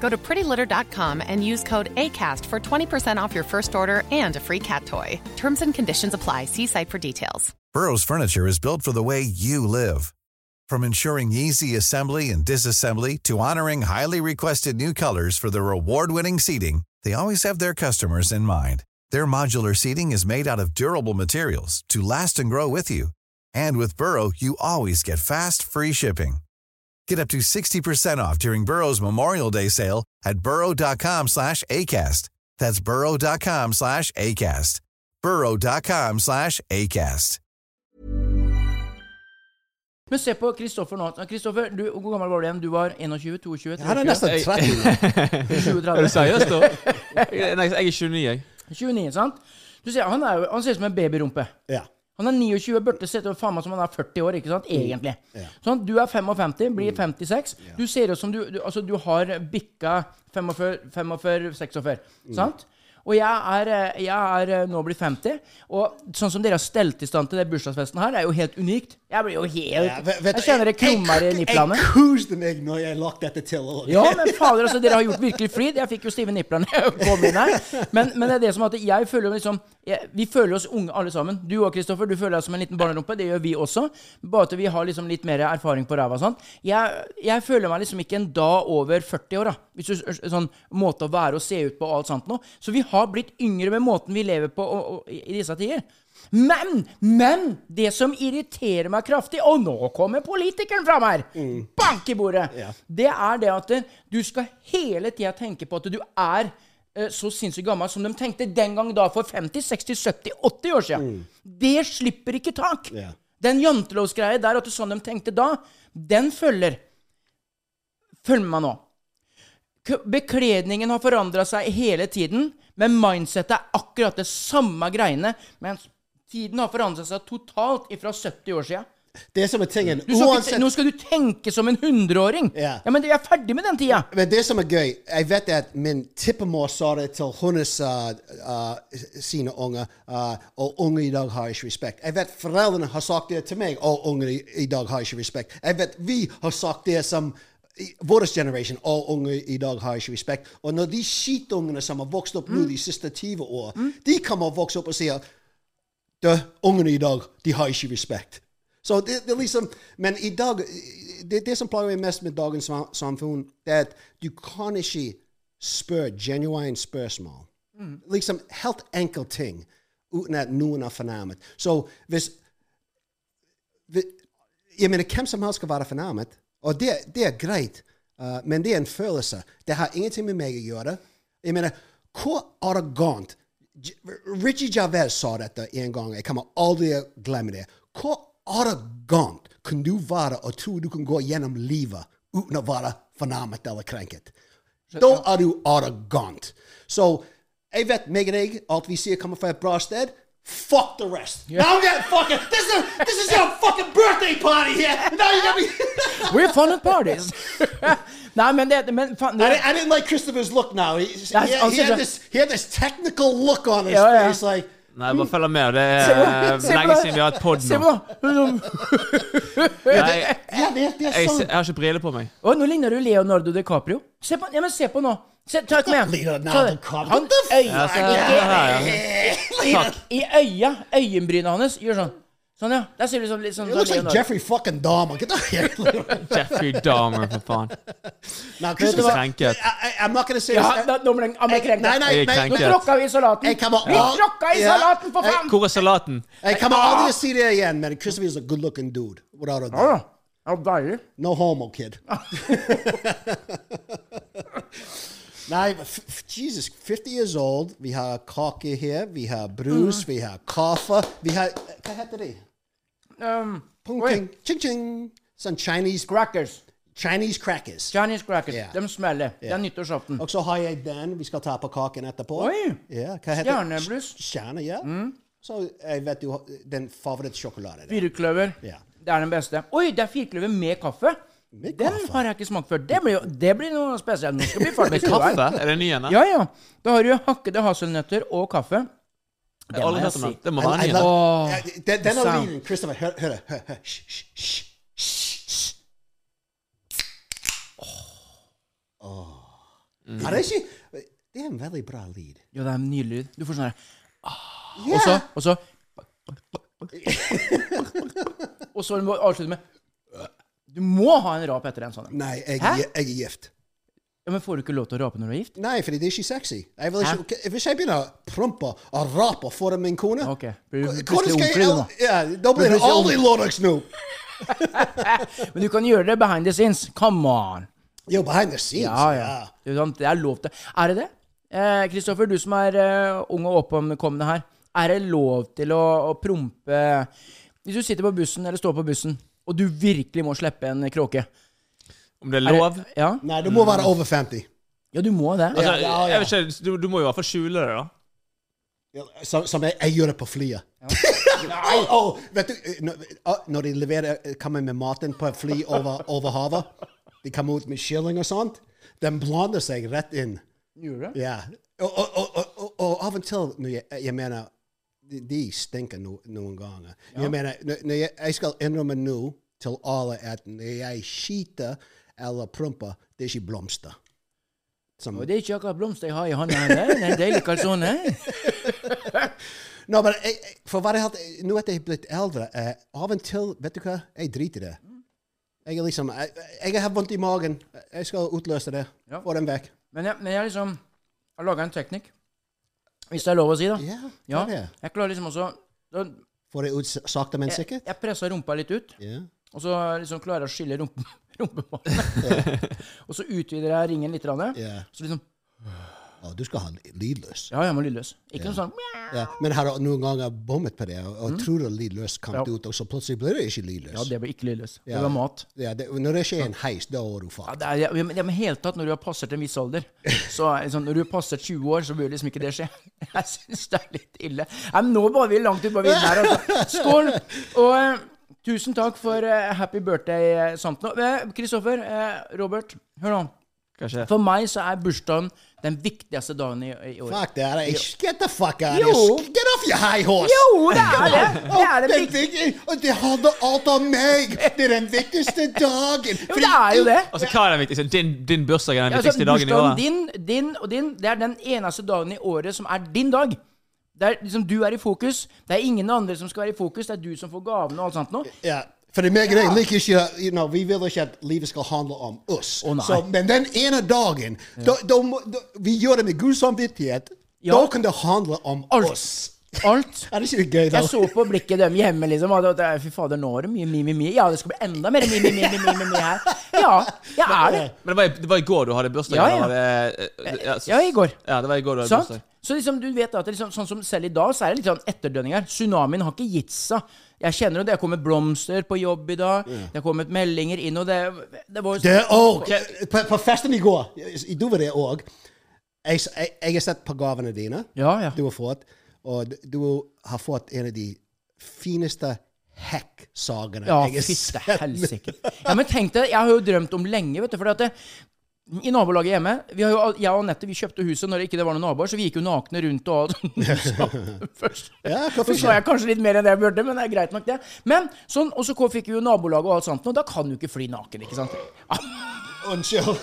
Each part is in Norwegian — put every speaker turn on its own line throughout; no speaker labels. Go to prettylitter.com and use code ACAST for 20% off your first order and a free cat toy. Terms and conditions apply. See site for details.
Burrow's furniture is built for the way you live. From ensuring easy assembly and disassembly to honoring highly requested new colors for their award-winning seating, they always have their customers in mind. Their modular seating is made out of durable materials to last and grow with you. And with Burrow, you always get fast, free shipping. Get up to 60% off during Burrow's Memorial Day sale at burrow.com slash ACAST. That's burrow.com slash ACAST. burrow.com slash ACAST.
Men se på Kristoffer nå. Kristoffer, du, Hvor gammel var du igjen? Du var 21? 22?
Han er nesten 30.
37?
Er du seriøs, da? Jeg- Nei, jeg er 29, jeg.
29, sant? Du ser, han, er, jo- han ser ut som en babyrumpe.
Ja.
Han er 29, Børte ser ut faen meg som han er 40 år, ikke sant?
Mm.
egentlig. Sånn, Du er 55, blir 56. Du ser ut som du, du Altså, du har bikka 45-46,
Mm.
sant? Og jeg er, eh, jeg er eh, nå blitt 50, og sånn som dere har stelt i stand til den bursdagsfesten her, er jo helt unikt. Jeg blir jo helt
Ja, vet- vet du,
Jeg kjenner det krummer i
jeg-
niplene.
Jeg koste meg når jeg lagt dette til. også.
Ja, men fader, altså, dere har gjort virkelig flid. Jeg fikk jo stive nipler når jeg kom inn her. Men, men det er det som at jeg føler jo liksom jeg, Vi føler oss unge alle sammen. Du og Kristoffer, du føler deg som en liten barnerumpe. Det gjør vi også. Bare at vi har liksom litt mer erfaring på ræva og sånn. Jeg, jeg føler meg liksom ikke en da over 40 år, da. Hvis du sånn måte å være og se ut på og alt sånt nå. Så vi har blitt yngre med måten vi lever på og, og, i i disse tider. Men, men det som irriterer meg kraftig, og nå kommer politikeren fram her! Bank i bordet! Det er det at du skal hele tida tenke på at du er eh, så sinnssykt gammel som de tenkte den gang da for 50, 60, 70, 80 år siden. Det slipper ikke tak.
Ja.
Den jantelovsgreia der at sånn de tenkte da, den følger. Følg med meg nå. K- Bekledningen har forandra seg hele tiden, men mindsettet er akkurat det samme greiene. Men tiden har forandra seg totalt ifra 70 år sia.
Det som er tingen Uansett
Nå skal du tenke som en 100-åring!
Ja.
ja, men jeg er ferdig med den tida!
Men det som er gøy, jeg vet at min tippemor sa det til hennes uh, uh, sine unger, uh, og unge i dag har ikke respekt. Jeg vet foreldrene har sagt det til meg, og unge i, i dag har ikke respekt. Jeg vet vi har sagt det som i- vår generasjon, og unge i dag har ikke respekt. Og når de skitungene som har vokst opp
Mm.
nå de siste 20 år, de kommer og vokser opp og sier du, ungene i dag, de har ikke respekt. Så det, det er liksom, Men i dag det, det som plager meg mest med dagens sam- samfunn, det er at du kan ikke spørre genuine spørsmål. Liksom helt enkelt ting uten at noen er fornærmet. Så hvis vi- Jeg mener, hvem som helst skal være fornærmet, og det, det er greit, uh, men det er en følelse. Det har ingenting med meg å gjøre. Jeg mener, hvor arrogant J- Richie Javez sa dette en gang, jeg kommer aldri å glemme det. Hvor arrogant kan du være og tro du kan gå gjennom livet uten å være fornærmet eller krenket? Da er du arrogant. Så jeg vet meg og deg, alt vi sier kommer fra et bra sted. Fuck the rest. Now I'm getting fucking. This is this is your fucking birthday party here. Now you got me.
We're fun at parties! Nei, men det men, faen,
I,
det,
didn't, I didn't like Christopher's look. Now he, he,
That's- I'll
he
sit
had
down.
this he had this technical look on his
Yeah, yeah.
face, like
Nei, bare følg med. Det er eh,
Se på
lenge
det.
siden vi har hatt pod
Se
nå.
på det!
Nei,
yeah, they're, they're
jeg,
so.
jeg har ikke briller på meg.
Å, nå ligner du Leonardo DiCaprio. Se på, ja, men se på nå. Se, ta et med.
Leonardo
Ta-
DiCaprio.
Han
What the
øya,
Ja, se her, her, ja.
I øya, øyenbrynet hans gjør sånn. Sånn, ja. Der ser du sånn, litt sånn
It looks
sånn
like Jeffrey fucking Dahmer. Get out of here.
Jeffrey Dahmer, for faen.
Now,
Vet du hva?
I, I, I'm not going to say
Ja,
this.
da, da ble han ble krenka.
Nei, nei,
Jeg er
nei.
krenket.
Vi tråkka i salaten!
Jeg kan bare-
Vi tråkka i
Ja.
salaten, for
Jeg-
faen!
Hvor er salaten?
Hey, come on. I'll just see there again, man. Christopher is a good looking dude. Without a
Ja,
doubt.
ja, deilig.
No homo, kid. Nei, f- f- Jesus, 50 years old. Vi har kake her, vi har brus,
Mm.
vi har kaffe. Vi har Hva heter det?
Um, oi,
Punking. Ching-ching. Sånn Chinese,
crackers.
Chinese crackers.
Chinese crackers.
Ja.
De smeller. Det er nyttårsaften.
Og så har jeg den. Vi skal ta på kaken etterpå.
Oi.
Ja, hva heter
Stjernebrus.
Stjerne, ja.
Mm.
Så jeg vet du har den favorittsjokolade der.
Firkløver.
Ja.
Det er den beste. Oi, det er firkløver med kaffe!
Med
Den
kaffe?
har jeg ikke smakt før. Det blir, jo, det blir noe spesielt. Nå skal vi ferdig med skrueren.
Kaffe? Er det ny igjen? da?
Ja, ja. Da har du hakkede haselnøtter og kaffe.
Jeg har aldri
må
hørt om
jeg
den. Det må
I-
være
I
ny. igjen.
love-
Åh,
Ja, den- Den har
sound.
lyden. Christopher, hør, hør det. Hør, hør. Hysj, hysj, hysj, hysj, hysj.
Mm.
Åh. Åh. Er det ikke Det er en veldig bra lyd.
Jo, det er en nydelig lyd. Du får sånn her
Ja.
Og så Og så Og så må du avslutte med Du må ha en rap etter en sånn en.
Nei, jeg,
Hæ?
jeg, jeg er gift.
Ja, men får du ikke lov til å rape når du er gift?
Nei, fordi det er ikke sexy. Jeg vil
Hæ?
ikke, hvis jeg begynner å prompe og rape foran min kone
Ok. Blir du
Hvordan
plutselig
skal
ordentlig, da?
jeg Ja, Da blir det
plutselig
aldri
ung.
Lorex nå!
Men du kan gjøre det behind the scenes. Come on.
Jo, behind the scenes.
Ja, ja. Det er, sant, det er lov til Er det det? Eh, Kristoffer, du som er eh, ung og oppkommende her. Er det lov til å, å prompe Hvis du sitter på bussen eller står på bussen, og du virkelig må slippe en kråke
Om det er
er det-
lov?
Ja,
Nei, du må være over 50.
ja du må det.
Altså,
Ja, ja, ja.
jeg vet ikke, du, du må jo i hvert fall skjule det, da.
Ja, Som, som jeg, jeg gjør det på flyet. Nei, åh, vet du, eh, når, ah, når de leverer, eh, kommer med maten på et fly over, over havet, de kommer ut med kylling og sånt, den blander seg rett inn.
Gjør du det?
Ja. Og, og, og, og, og, og av og til, når jeg, jeg mener, de, de stinker no, noen ganger. Jeg mener, når, når jeg, jeg skal innrømme nå til alle at når jeg skiter eller promper, det er ikke blomster. Som,
Og det er ikke akkurat blomster jeg har i hånda. her, nei. Det er sånn, deilig kalsone.
No, men jeg, jeg- for å være helt Nå eh, at jeg er blitt eldre, eh, av og til Vet du hva? Jeg driter i det. Jeg er liksom Jeg, jeg har vondt i magen. Eh, Jeg skal utløse det.
Ja.
Få den vekk.
Men jeg, men jeg liksom har laga en teknikk. Hvis det er lov å si, da.
Ja,
Ja,
det er det. Eh,
jeg klarer liksom også da,
Få det ut s- sakte, men
Jeg,
sikkert.
jeg pressa rumpa litt ut.
Ja.
Og så liksom klarer jeg å skille rumpen, rumpebåndet. og så utvider jeg ringen litt. grann,
Ja.
Så liksom
Å, du skal ha l- lydløs.
Ja, jeg må lydløs. Ikke noe sånn mjau.
Ja. Men har du noen ganger bommet på det og, og tror det lydløs kom
Mm. Ja.
ut, og så plutselig blir det ikke lydløs?
Ja, det blir ikke lydløs.
Ja.
Det var mat.
Ja, det- når det skjer en heis, da er du
Ja,
fucked.
det er, ja, men det er med hele tatt, når du har passert en viss alder så er det sånn, Når du har passert 20 år, så bør liksom ikke det skje. Jeg syns det er litt ille. Nei, men nå var vi langt utpå vidden her. Altså. Skål! Og eh, tusen takk for eh, happy birthday, eh, Santen. Og, eh, Kristoffer, eh, Robert, hør nå.
Kanskje.
For meg så er bursdagen den viktigste dagen i, i året.
Fuck that. I, get the fuck out
Jo.
of here. Get off your high horse.
Jo, det er det! Det er det
den
viktig-
vik- og det handler alt om meg! Det er den viktigste dagen!
Jo, det er jo det.
Altså, hva er den viktigste? Din, din bursdag er den
Ja, altså,
viktigste dagen i
bursdagen
året?
din, din og din, det er den eneste dagen i året som er din dag. Det er liksom Du er i fokus. Det er ingen andre som skal være i fokus. Det er du som får gavene og alt sånt noe.
Ja, for meg og deg liker ikke you know, Vi vil ikke at livet skal handle om oss.
Å, nei.
men den ene dagen da, da, må- da, Vi gjør det med god samvittighet.
Ja.
Da kan det handle om
Alt.
oss.
Alt.
Er det ikke det gøy, da?
Jeg så på blikket dem hjemme, liksom. Og det, fy fader, nå er det mye mi-mi-mi. Ja, det skal bli enda mer mi-mi-mi her. Ja, jeg er det.
Men eh, det var, i- det var i går du hadde bursdag?
Ja, ja.
eller var det- så-
Ja, i går.
Ja, det var i går du hadde
Sant?
bursdag.
Så liksom, du vet at det liksom, sånn som selv i dag, så er det litt sånn etterdønninger. Tsunamien har ikke gitt seg. Jeg kjenner jo det. Det har kommet blomster på jobb i dag. Det har kommet meldinger inn, og det, det var jo
Det òg!
Ok.
På, på festen i går, du var der òg. Jeg, s- jeg, jeg har sett på gavene dine
Ja, ja.
du har fått, og d- du har fått en av de fineste hekksagene
Ja,
jeg har
fytte
sett.
helsike. Ja, men tenk deg, jeg har jo drømt om lenge, vet du. For at det, i nabolaget hjemme vi har jo, al- Jeg og Anette vi kjøpte huset når det ikke var noen naboer, så vi gikk jo nakne rundt og Først
Ja, hvorfor
Så
ikke?
sa jeg kanskje litt mer enn det jeg burde, men det er greit nok, det. Men sånn, Og så kom- fikk vi jo nabolaget og alt sånt, og da kan du ikke fly naken, ikke sant?
Unnskyld.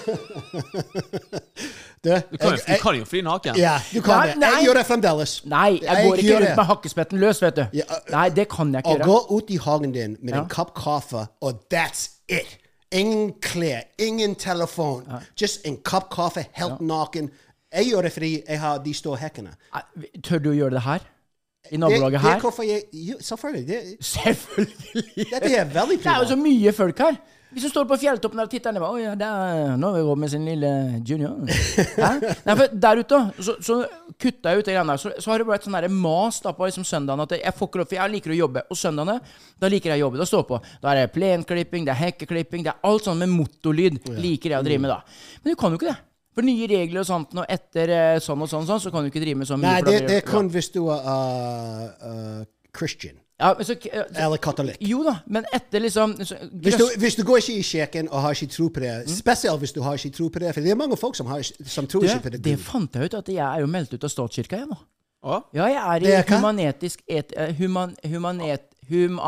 Du,
Du kan, jo- du kan jo fly naken.
Ja, du kan
Nei,
det.
nei.
Jeg gjør det fremdeles.
Nei, jeg går ikke
gjør
rundt
det.
med hakkespetten løs, vet du.
Ja, øh,
Nei, det kan jeg
Å
ikke gjøre.
gå ut i hagen din med en kopp kaffe, og that's it. Ingen klær, ingen telefon. Just en kopp kaffe, helt naken. Jeg gjør det fordi jeg har de store hekkene.
Nei, Tør du å gjøre det her? I
Det, det
nabolaget
er
her?
hvorfor jeg jo, Selvfølgelig. Det,
Selvfølgelig!
dette er veldig
Det er jo
privat.
så mye folk her. Vi som står på fjelltoppen der og titter ned bare, «Oi, der, Nå er Robin sin lille junior. Hæ? Nei, for der ute så, så kutta jeg ut det greiene der. Så, så har det vært sånn der mas da på liksom søndagen at jeg får ikke lov, for jeg liker å jobbe. Og søndagene, da liker jeg å jobbe. Da står jeg på. Da er det plenklipping, det er hekkeklipping, det er alt sånn med motorlyd. Liker jeg å drive med da. Men du kan jo ikke det. For nye regler og sånt, og etter eh, sånn og sånn, sånn, så kan du ikke drive med sånn. mye,
Nei,
for da
det,
blir
det er kun hvis du er uh, uh, Christian
Ja, men så, eh, så,
eller katolikk.
jo da, men etter liksom så,
Hvis du, hvis du går ikke i kirken og har ikke tro på det, spesielt hvis du har ikke tro på det, for det er mange folk som, har, ikke- som tror ikke
Hmm?
på
det, er
det.
det fant jeg ut, at jeg er jo meldt ut av statskirka, jeg nå.
Å?
Ja, jeg er i
Det er hva?
humanetisk et, eh, human, humanet,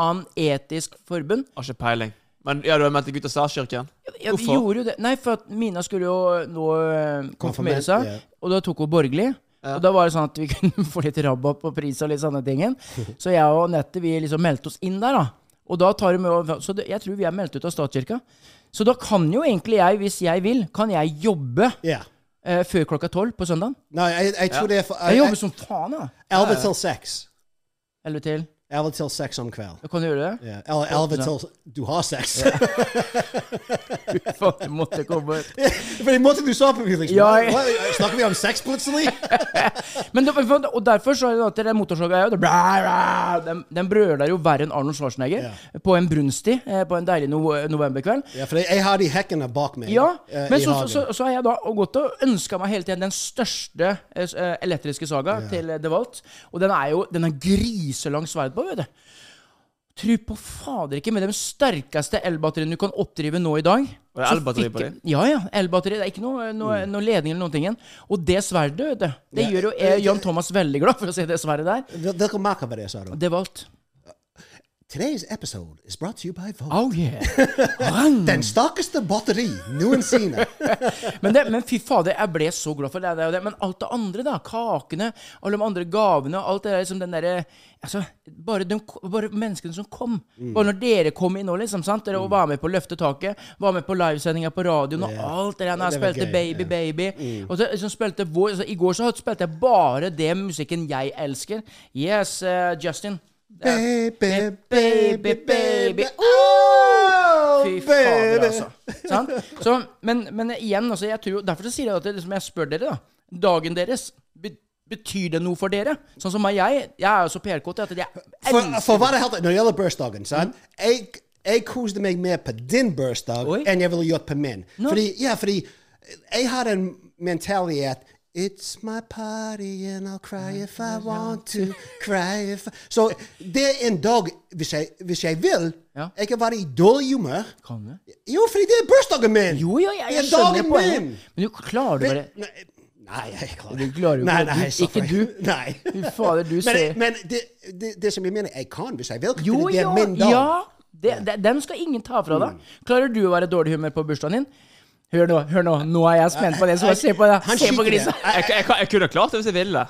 Human-etisk forbund.
Har ikke peiling. Men ja, du har meldt deg ut av statskirken?
Jeg gjorde jo det. Nei, for at Mina skulle jo nå eh, konfirmere
Konfirmert,
seg,
ja.
og da tok hun borgerlig. Og da var det sånn at vi kunne få litt rabatt på pris og litt sånne tingen. Så jeg og Anette vi liksom meldte oss inn der, da. Og da tar de med over, Så det, jeg tror vi er meldt ut av statskirka. Så da kan jo egentlig jeg, hvis jeg vil, kan jeg jobbe
Ja.
eh, før klokka tolv på søndag.
Nei, jeg, jeg tror det er for
Jeg jobber som faen, jeg.
11 til 6.
Eller til.
11 til 6 om kveld.
Kan du gjøre det?
Ja. Eller 11 til du har sex.
Faen, jeg måtte komme.
For i måten du sa på meg, liksom,
Ja, jeg-
hva- hva- Snakker vi om sex plutselig?
Men det, for- og derfor så er det at det motorsaga er jo det blæ, blæ, Den, den brøler jo verre enn Arnold Schwarzenegger på en brunstig eh, på en deilig no novemberkveld.
Ja, for jeg, jeg har de hekkene bak meg.
Ja,
eh,
men
i
så,
hagen.
så, så har jeg da gått og ønska meg hele tiden den største eh, s- eh, elektriske saga til eh, DeWalt. Og den er jo den er griselang sverd på, vet du. Tru på fader ikke med de sterkeste elbatteriene du kan oppdrive nå i dag.
Og det er
så
elbatteri på
fikk-
de?
Ja, ja. Elbatteri. Det er ikke noe, eh, noe, noe ledning eller noen ting. igjen. Og det sverdet, vet du. Det
Mm. Ja,
gjør jo eh, Jan Thomas veldig glad for å se det sverdet der.
Hvil- Hvilken merke var det, sa du?
Det var alt.
Today's episode is brought to you by Vogue.
Oh yeah. Rang.
Den sterkeste batteri noensinne.
Men, det, men fy fader, jeg ble så glad for det. det, er jo det. Men alt det andre, da. Kakene, alle de andre gavene, alt det der liksom den derre altså, bare, de, bare menneskene som kom.
Mm.
Bare når dere kom inn nå, liksom. sant? Dere var med på å løfte taket. Var med på livesendinga på radioen og alt det der. Når jeg
Det var
spilte
gøy,
Baby
ja. Mm.
Baby. Og så liksom spilte vår altså, I går så spilte jeg bare det musikken jeg elsker. Yes, eh, Justin. Det er-
Baby,
baby, baby.
Oh,
Fy fader,
baby.
altså. Sant? Så, men, men igjen, altså, jeg tror, derfor så sier jeg at det, liksom, jeg spør dere, da. Dagen deres, be, betyr det noe for dere? Sånn som meg, jeg. Jeg er jo så PR-kåt at jeg
For, altså- for
elsker
å være helt Når det gjelder bursdagen, sant? Jeg, jeg koste meg mer på din bursdag
Hmm? Oi.
enn jeg ville gjort på min. Fordi, ja, fordi jeg har en mentalitet It's my party and I'll
Ah,
cry if I want to cry if I... Så det er en dag, hvis jeg, hvis jeg vil,
Ja.
jeg kan være i dårlig humør.
Kan du?
Jo, fordi det er bursdagen min!
Jo, jo, jeg,
det
jeg
er
skjønner
dagen min!
poenget. Men du klarer det bare
Nei, nei, jeg klarer
Du klarer jo ikke
Nei,
det.
nei,
Du- ikke
sorry.
du.
Nei.
Fy fader, du
Men,
ser-
men det, det, det som jeg mener, jeg kan hvis jeg vil.
Jo,
fordi det er
jo,
min dag. Mm.
ja. Det, det, den skal ingen ta fra deg. Klarer du å være i dårlig humør på bursdagen din? Hør nå, hør nå, nå er jeg spent på det. Så se på det.
Han
Se på
skiter i det.
grisen.
Jeg, jeg, jeg, jeg kunne klart det hvis jeg ville.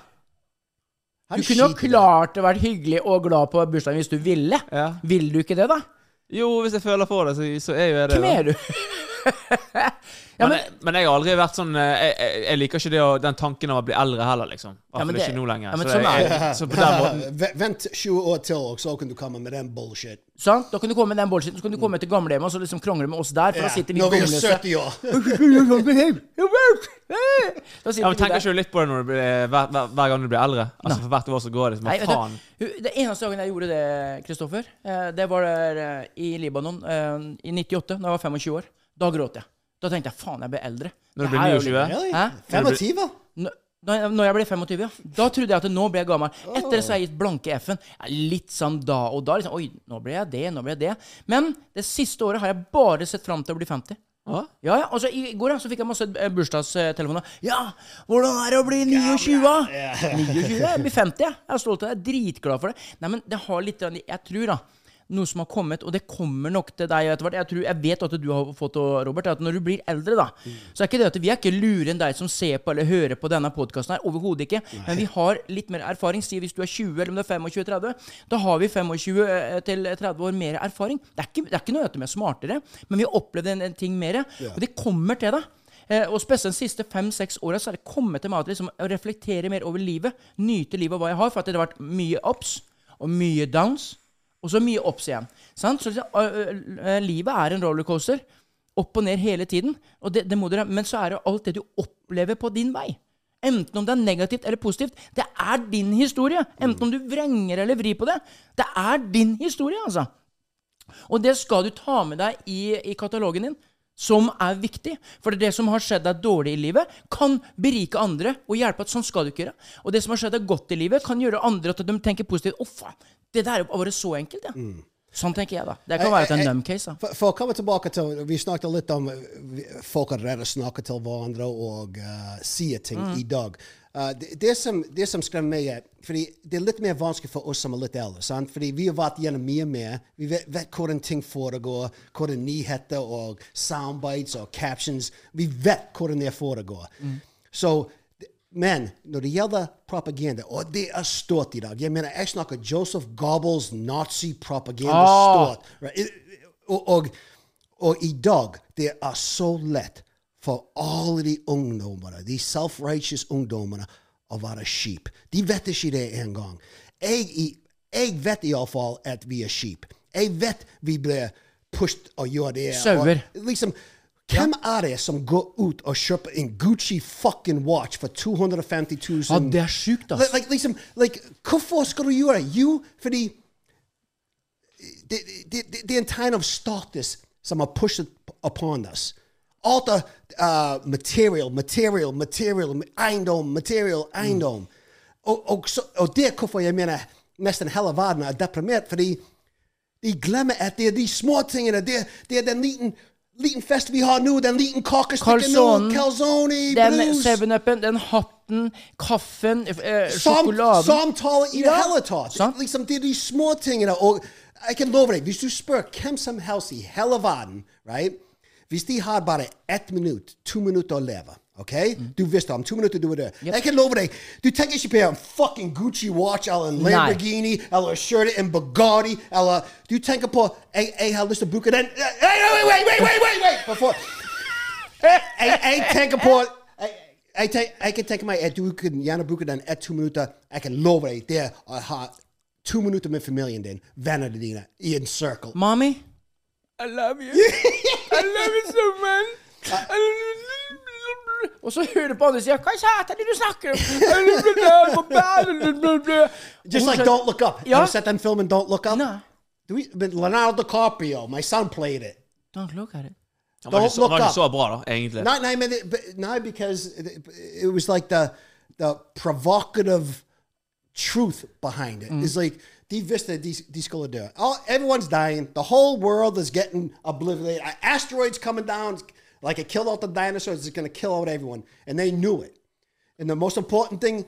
Han
Du kunne jo
skiter i det.
klart å være hyggelig og glad på bursdagen hvis du ville.
Ja.
Vil du ikke det, da?
Jo, hvis jeg føler for det, så, så er jo jeg det.
Hvem
da.
er du? ja, men,
men, jeg, men jeg har aldri vært sånn eh, Jeg, jeg, jeg liker ikke det, å- den tanken av å bli eldre heller, liksom. I hvert
Ja, men
fall
det-
ikke nå lenger.
ja, men
så,
sånn er
jeg, jeg, så på den måten
V- Vent 20 år til, og så kan du komme med den bullshit.
sant? Da kan du komme med den bullshiten, så kan du komme til gamlehjemmet og så liksom krangle med oss der, for da sitter vi
Når vi er
gamløse.
70 år.
sånn, Da sitter
ja, men
vi
Tenker
der.
ikke du litt på det når du blir, eh, hver, hver, hver gang du blir eldre? Altså For hvert år så går det som
Nei,
bare
vet
faen.
du, det eneste dagen jeg gjorde det, Kristoffer, eh, det var der eh, i Libanon eh, i 98, da jeg var 25 år. Da gråt jeg. Da tenkte jeg faen, jeg blir eldre.
Når
Det
du blir
her er jo
29?
litt-
Really?
Hæ?
25?
Nå- Når jeg, når jeg ble 25, ja. Da trodde jeg at nå ble jeg gammel. Etter det så har jeg gitt blanke F-en. Jeg er Litt sånn da og da. Liksom, Oi, nå ble jeg det, nå ble jeg det. Men det siste året har jeg bare sett fram til å bli 50.
Hå?
Ja, ja. Altså, I går ja, så fikk jeg masse eh, bursdagstelefoner. Ja, hvordan er det å bli 29? da?» 29? Jeg blir 50, jeg. Jeg er stolt av det. Jeg er dritglad for det. Nei, men det har litt grann- Jeg tror, da noe som har kommet, og det kommer nok til deg etter hvert. Jeg, tror, jeg vet at du har fått det, Robert, er at når du blir eldre, da, så er ikke det at vi er ikke lure enn deg som ser på eller hører på denne podkasten her. Overhodet ikke. Men vi har litt mer erfaring. Si hvis du er 20, eller om du er 25-30, da har vi 25-30 år mer erfaring. Det er ikke, det er ikke noe at vi er smartere, men vi har opplevd en, en ting mer. Og det kommer til deg. Eh, og spesielt de siste fem-seks åra har det kommet til meg at liksom, å reflektere mer over livet. Nyte livet og hva jeg har. For at det har vært mye ups og mye downs. Og så mye ups igjen. Sant? Så liksom, ø, ø, ø, livet er en rollercoaster. Opp og ned hele tiden. Og det, det må dere, men så er det alt det du opplever på din vei. Enten om det er negativt eller positivt. Det er din historie. Enten om du vrenger eller vrir på det. Det er din historie, altså. Og det skal du ta med deg i, i katalogen din, som er viktig. For det er det som har skjedd deg dårlig i livet, kan berike andre og hjelpe at sånn skal du ikke gjøre. Og det som har skjedd deg godt i livet, kan gjøre andre at de tenker positivt. Å, faen, det der er jo bare så enkelt, ja. Sånn tenker jeg, da. Det kan være at det er en dumb case, da.
For, for å komme tilbake til Vi snakket litt om eh, vi- folk er redde å snakke til hverandre og eh, sier ting i dag. Eh, det, det, som, det som skremmer meg, er fordi det er litt mer vanskelig for oss som er litt eldre. sant? Fordi vi har vært gjennom mye mer. Vi vet, vet hvordan ting foregår, hvordan nyheter og soundbites og captions Vi vet hvordan det foregår. Så men når det gjelder propaganda, og det er stort i dag Jeg mener, jeg snakker Joseph Goebbels nazi-propaganda stort. Right? I- Og, og, og i dag det er så lett for alle de ungdommene, de self-righteous ungdommene, å være skip. De vet ikke det engang. Jeg, i- jeg vet iallfall at vi er skip. Jeg vet vi blir pushet og gjør det. og-
Sauer.
liksom, hvem er det som går ut og kjøper en Gucci fucking watch for 250 000?
Ja, det er sjukt, ass.
Like, like, liksom, like, hvorfor skal du gjøre det? Jo, fordi det, det, det, det er en tegn av status som har pushet upon us. Alt er uh, material, material, material, eiendom, material, eiendom. Og, og, så, og det er hvorfor jeg mener nesten hele verden er deprimert, fordi de glemmer at det er de små tingene. Det, det er den liten, liten fest vi har nå, den liten kakestikken nå,
Calzonen.
calzone,
Den
blues,
7-upen, den hatten, kaffen, eh,
sam,
sjokoladen
samtale i det
Ja.
hele tatt.
Sant.
Liksom, det er de små tingene. Og jeg kan love deg, hvis du spør hvem som helst i hele verden right? Hvis de har bare ett minutt, to minutter å leve ok? Du visste om to minutter du er død. Jeg kan love deg, du tenker ikke på en fucking Gucci watch eller en
Nei.
Lamborghini eller skjørtet, en Bugatti eller Du tenker på jeg, jeg har lyst til å bruke den Hey, Wait, wait, wait, wait, wait, wait! Before. jeg, jeg tenker på jeg, jeg, tenk, jeg kan tenke meg at du kan gjerne bruke den ett-to minutter. Jeg kan love deg det å ha to minutter med familien din, vennene dine, i en circle.
Mommy, I love you. I love you so much. I love you. Og så hører du på andre sida Hva satan er det du snakker om?
Just like Don't Look Up.
Ja.
Har du sett den filmen Don't Look Up?
Nei.
Du, men Leonardo DiCaprio, my son played it.
Don't look at it.
Han var
Don't
ikke så, han var
look
ikke så
up.
bra, da, egentlig.
Not, not, but, but, not because it, it was like the the provocative truth behind it. It's like the vista these these color do. All everyone's dying. The whole world is getting obliterated. A- Asteroids coming down, like it killed out the dinosaurs. It's gonna kill out everyone, and they knew it. And the most important thing, uh,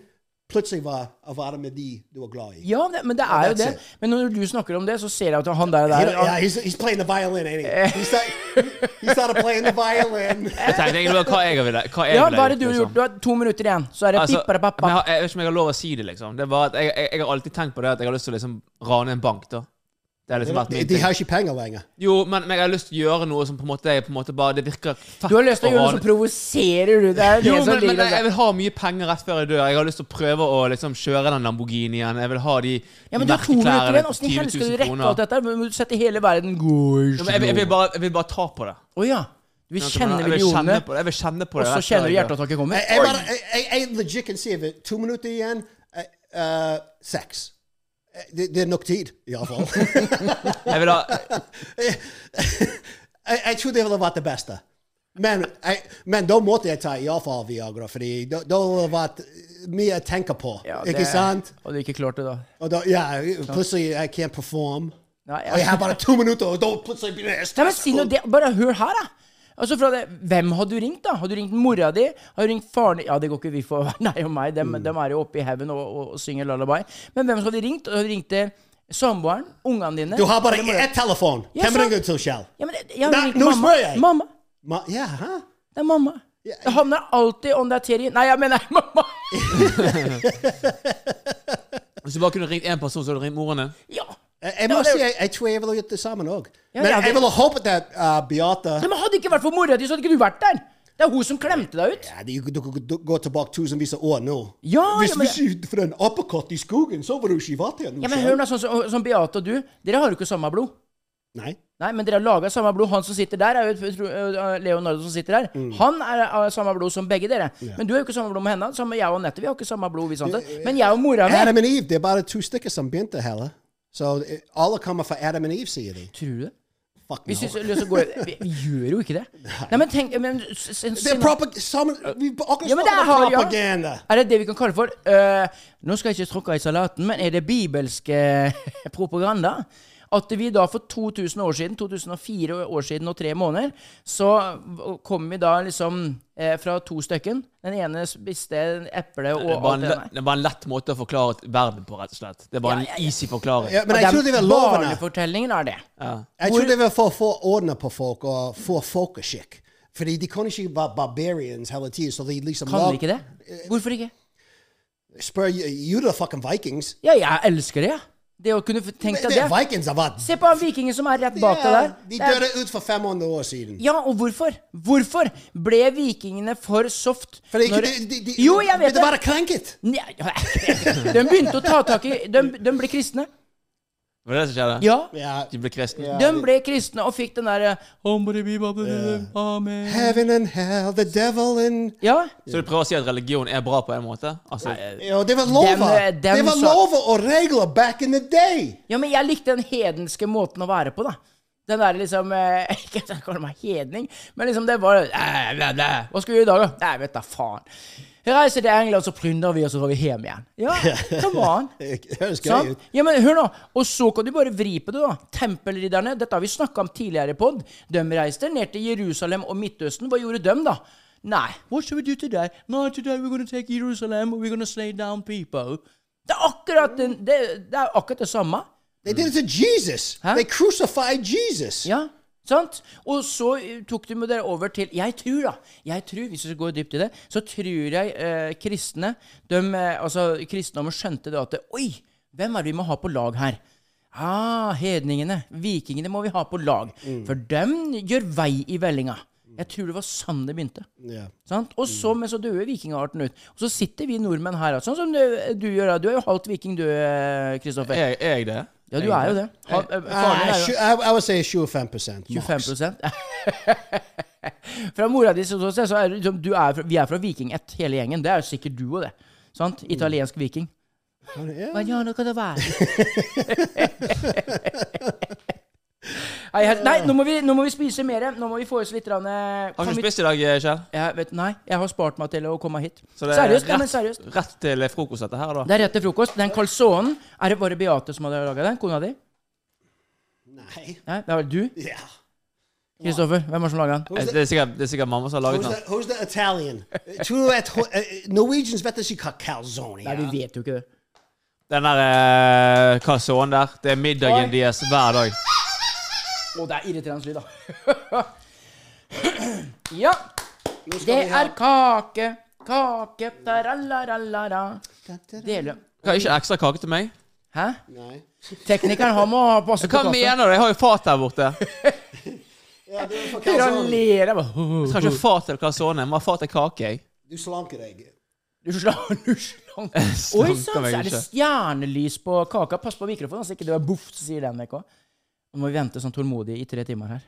plutselig var Avada Medi du var glad i.
Ja, det, men det er jo
That's
det.
it.
Men når du snakker om det, så ser jeg at han der,
He
der
don't- yeah, he's, he's playing the violin, ain't he? He started, he started playing the violin.
Jeg tenkte egentlig bare hva jeg ville hva jeg
Ja,
ville
hva er det du har
liksom.
gjort? Du har to minutter igjen, så er det
Altså,
pippa pappa.
men jeg, har- jeg vet ikke om jeg har lov å si det, liksom. Det er bare at jeg, jeg, jeg har alltid tenkt på det at jeg har lyst til å liksom rane en bank, da. Det har liksom vært
De,
min
de
ting.
har ikke penger lenger.
Jo, men, men jeg har lyst til å gjøre noe som på en måte, jeg på en måte bare Det virker fett
Du har lyst til å gjøre noe som
rane-
provoserer du. Det er
Jo,
det som
men, men
ligger
jeg, jeg
der.
vil ha mye penger rett før jeg dør. Jeg har lyst til å prøve å liksom kjøre den Lamborghinien. Jeg vil ha de
Ja, men du
de
har to minutter igjen.
merkeklærne
Åssen i
til
helsike skal du
20 000
rekke
kroner.
alt dette? Må du sette hele verden
Ja, men Jeg, jeg, vil bare, jeg vil bare ta på det.
Å ja. Du vil
Jeg
kjenne
vil kjenne
millionene,
på det. Jeg vil kjenne på
og
det
så
rett før
kjenner du
jeg dør.
hjerteattaket kommer?
Jeg, jeg, bare, jeg, jeg, jeg legit kan si at to minutter igjen eh, eh, Sex. Eh, Det, det er nok tid, iallfall.
Jeg vil ha
jeg, jeg tror det ville vært det beste. Men, jeg, men da måtte jeg ta iallfall Viagra, fordi da da ville det vært mye å tenke på.
Ja,
ikke
det-
sant?
Og du ikke klarte det, da.
Og da, ja, plutselig jeg can't perform.
Nei, jeg-
Og jeg har bare to minutter, og da plutselig blir jeg
Nei, men si noe,
stressfull.
det, Bare hør her, da. Altså fra det, Hvem har du ringt, da? Har du ringt mora di? Har du ringt faren din? Ja, det går ikke vi
Mm.
for Nei og meg, dem, dem er jo oppe i haugen og, og, og synger lullaby. Men hvem skal du ringt? Har du ringt til samboeren, ungene dine
Du har bare
eller mora.
ett telefon.
Ja,
Hvem
sant.
ringer du til, Kjell?
Ja, men det- jeg
Nei,
ringer
nå
mamma.
spør jeg.
Mamma.
Ma ja, hæ?
Det er mamma. Det havner alltid om det er Terje Nei, jeg mener mamma!
Hvis du bare kunne ringt én person, så hadde du ringt moren din.
Ja!
Jeg, jeg
Ja,
må
det-
si, jeg, jeg tror jeg ville gjort det sammen òg.
Ja,
Men
ja,
jeg
det-
ville håpet at uh, Beate
Nei, men Hadde det ikke vært for mora di, så hadde ikke du vært der. Det er hun som klemte deg ut.
ja, du, du, du, du går tilbake tusenvis av år nå.
Ja,
oh, hvis
ja, men-
hvis du for en uppercut i skogen, så var du ikke vært her nå.
Ja, men
Kjell.
hør nå, sånn som sånn Beate og du, dere har jo ikke samme blod.
Nei.
Nei, men dere har laga samme blod. Han som sitter der, er jo jeg tror, øh, Leonardo som sitter der. Han er av samme blod som begge dere. Men du har jo ikke samme blod med henne. Samme jeg og Anette, vi har ikke samme blod, vi, sant? Men jeg og mora mi
Adam and Eve, det er bare to stykker som begynte heller. Så eh, alle kommer fra Adam and Eve, sier de.
Tror du det?
Fuck
Vi,
no.
synes, vi, vi, vi gjør jo ikke det. Nei, men tenk men, s- s-
Det er propag... Sammen, vi akkurat
Ja, men
snakket
det har
om
jeg-
propaganda.
Er det det vi kan kalle for eh, Nå skal jeg ikke tråkke i salaten, men er det bibelske propaganda? At vi da for 2000 år siden, 2004 år siden og tre måneder, så kom vi da liksom eh, fra to stykken. Den ene spiste en eple
Det er
og
bare
alt
en,
det
le-
der.
det er bare en lett måte å forklare verden på, rett og slett. Det er bare
Ja, ja,
en
ja.
easy forklaring.
Ja, men jeg
Og
tror det var
den
lovene.
barnefortellingen er det.
Jeg tror det var for å få ordene på folk og få folkeskikk. Fordi de kan ikke være barbarians hele tiden. Så de liksom
Kan
lag-
vi ikke det? Hvorfor ikke?
Spør you the fucking vikings.
Ja, jeg elsker det, jeg. Det å kunne tenke
Det
deg
er
det.
vikings har vært
Se på han vikingen som er rett bak deg der.
Ja, De
Det er-
døde ut for 500 år siden.
Ja, og hvorfor? Hvorfor ble vikingene for soft?
For de,
når-
de, de, de,
jo, jeg vet
det.
det!
var krenket.
Nei, de begynte å ta tak i De, de ble kristne.
Var det det som skjedde?
Ja.
Ja.
De ble kristne.
De ble kristne og fikk den eh, derre
Heaven and hell, the devil and
Ja.
Så du prøver å si at religion er bra på en måte? Altså,
Ja, det var lover.
Dem- dem
Det var
sa-
lover og regler back in the day.
ja, men jeg likte den hedenske måten å være på, da. Den der liksom eh, Ikke at jeg kaller meg hedning, men liksom det var eh, blæ, blæ. Hva skal vi gjøre i dag, da? Nei, vet da faen. Vi reiser til England, så plyndrer vi, og så drar vi hjem igjen. Ja, come on.
Det høres gøy
Sant?
ut.
Ja, men hør nå. Og så kan du bare vri på det, da. Tempelridderne, dette har vi snakka om tidligere i pod. De reiste ned til Jerusalem og Midtøsten. Hva gjorde de, da? Nei. What should we do today? No, today we're gonna take Jerusalem and we're gonna slay down people. Det er akkurat, den, det, det, er akkurat det samme.
They did it to Jesus.
Huh?
They crucified Jesus.
Ja, sant? Og så eh, tok de med dere over til Jeg tror, da. jeg tror, Hvis vi skal gå dypt i det, så tror jeg eh, kristne de, eh, altså, Kristendommen skjønte det at det, Oi, hvem er det vi må ha på lag her? Ah, hedningene. Vikingene må vi ha på lag. For dem gjør vei i vellinga. Jeg tror det var sånn det begynte.
Ja.
Sant? Og så, men så døde vikingarten ut. Og så sitter vi nordmenn her, altså, sånn som du, du gjør. da. Du er jo halvt viking, du, eh, Kristoffer.
er, jeg- er jeg det?
Ja, du er jo det. Ha, eh, faren din
Ah,
er jo
sju- I, I would say 25%. 25%.
25 Fra mora di som så ser, så er det liksom, du er fra, vi er fra Viking 1, hele gjengen. Det er jo sikkert du og det.
Mm.
Sant? Italiensk viking. Hva gjør dere det være? Nei, helt- Nei, nå må, vi, nå må vi spise mer. Nå må vi få oss litt grann, eh,
Har
kan
ikke
vi-
du spist i dag, Kjell?
jeg vet, Nei, jeg har spart meg til å komme hit.
Så det er
seriøst, ja, men
rett-
seriøst.
Rett til frokost, dette her, da.
Det er rett til frokost. Den calzonen Er det bare Beate som hadde laga den? Kona di?
Nei.
Nei, det var du?
Yeah.
Kristoffer? Hvem var det som laga den?
Eh, Det er sikkert, det er sikkert mamma som har laget
Who's the,
den.
who's the Italian? Tror du at ho- eh, Norwegians vet ikke hva calzone
Nei, vi
er?
vet jo ikke det.
Den der eh, calzone der. Det er
Oi.
middagen deres hver dag.
Å, det er irriterende lyd, da. ja.
Nå skal
Det
vi ha-
er kake, kake tarallarallara. Dele.
Hva, ikke ekstra kake til meg?
Hæ?
Nei.
Teknikeren han må ha passe på
Hva
kassa.
mener du? Jeg har jo fat her borte.
Ja, det er for
Hør, Han
calzone.
ler. jeg bare.
Jeg skal ikke ha fat til calzone. Jeg må ha fat til kake, jeg.
Du slanker deg.
Du slang, du slang. Oi sann, sånn, så er det stjernelys på kaka. Pass på mikrofonen, så ikke det er boff, så sier den vekk òg. Nå må vi vente sånn tålmodig i tre timer her.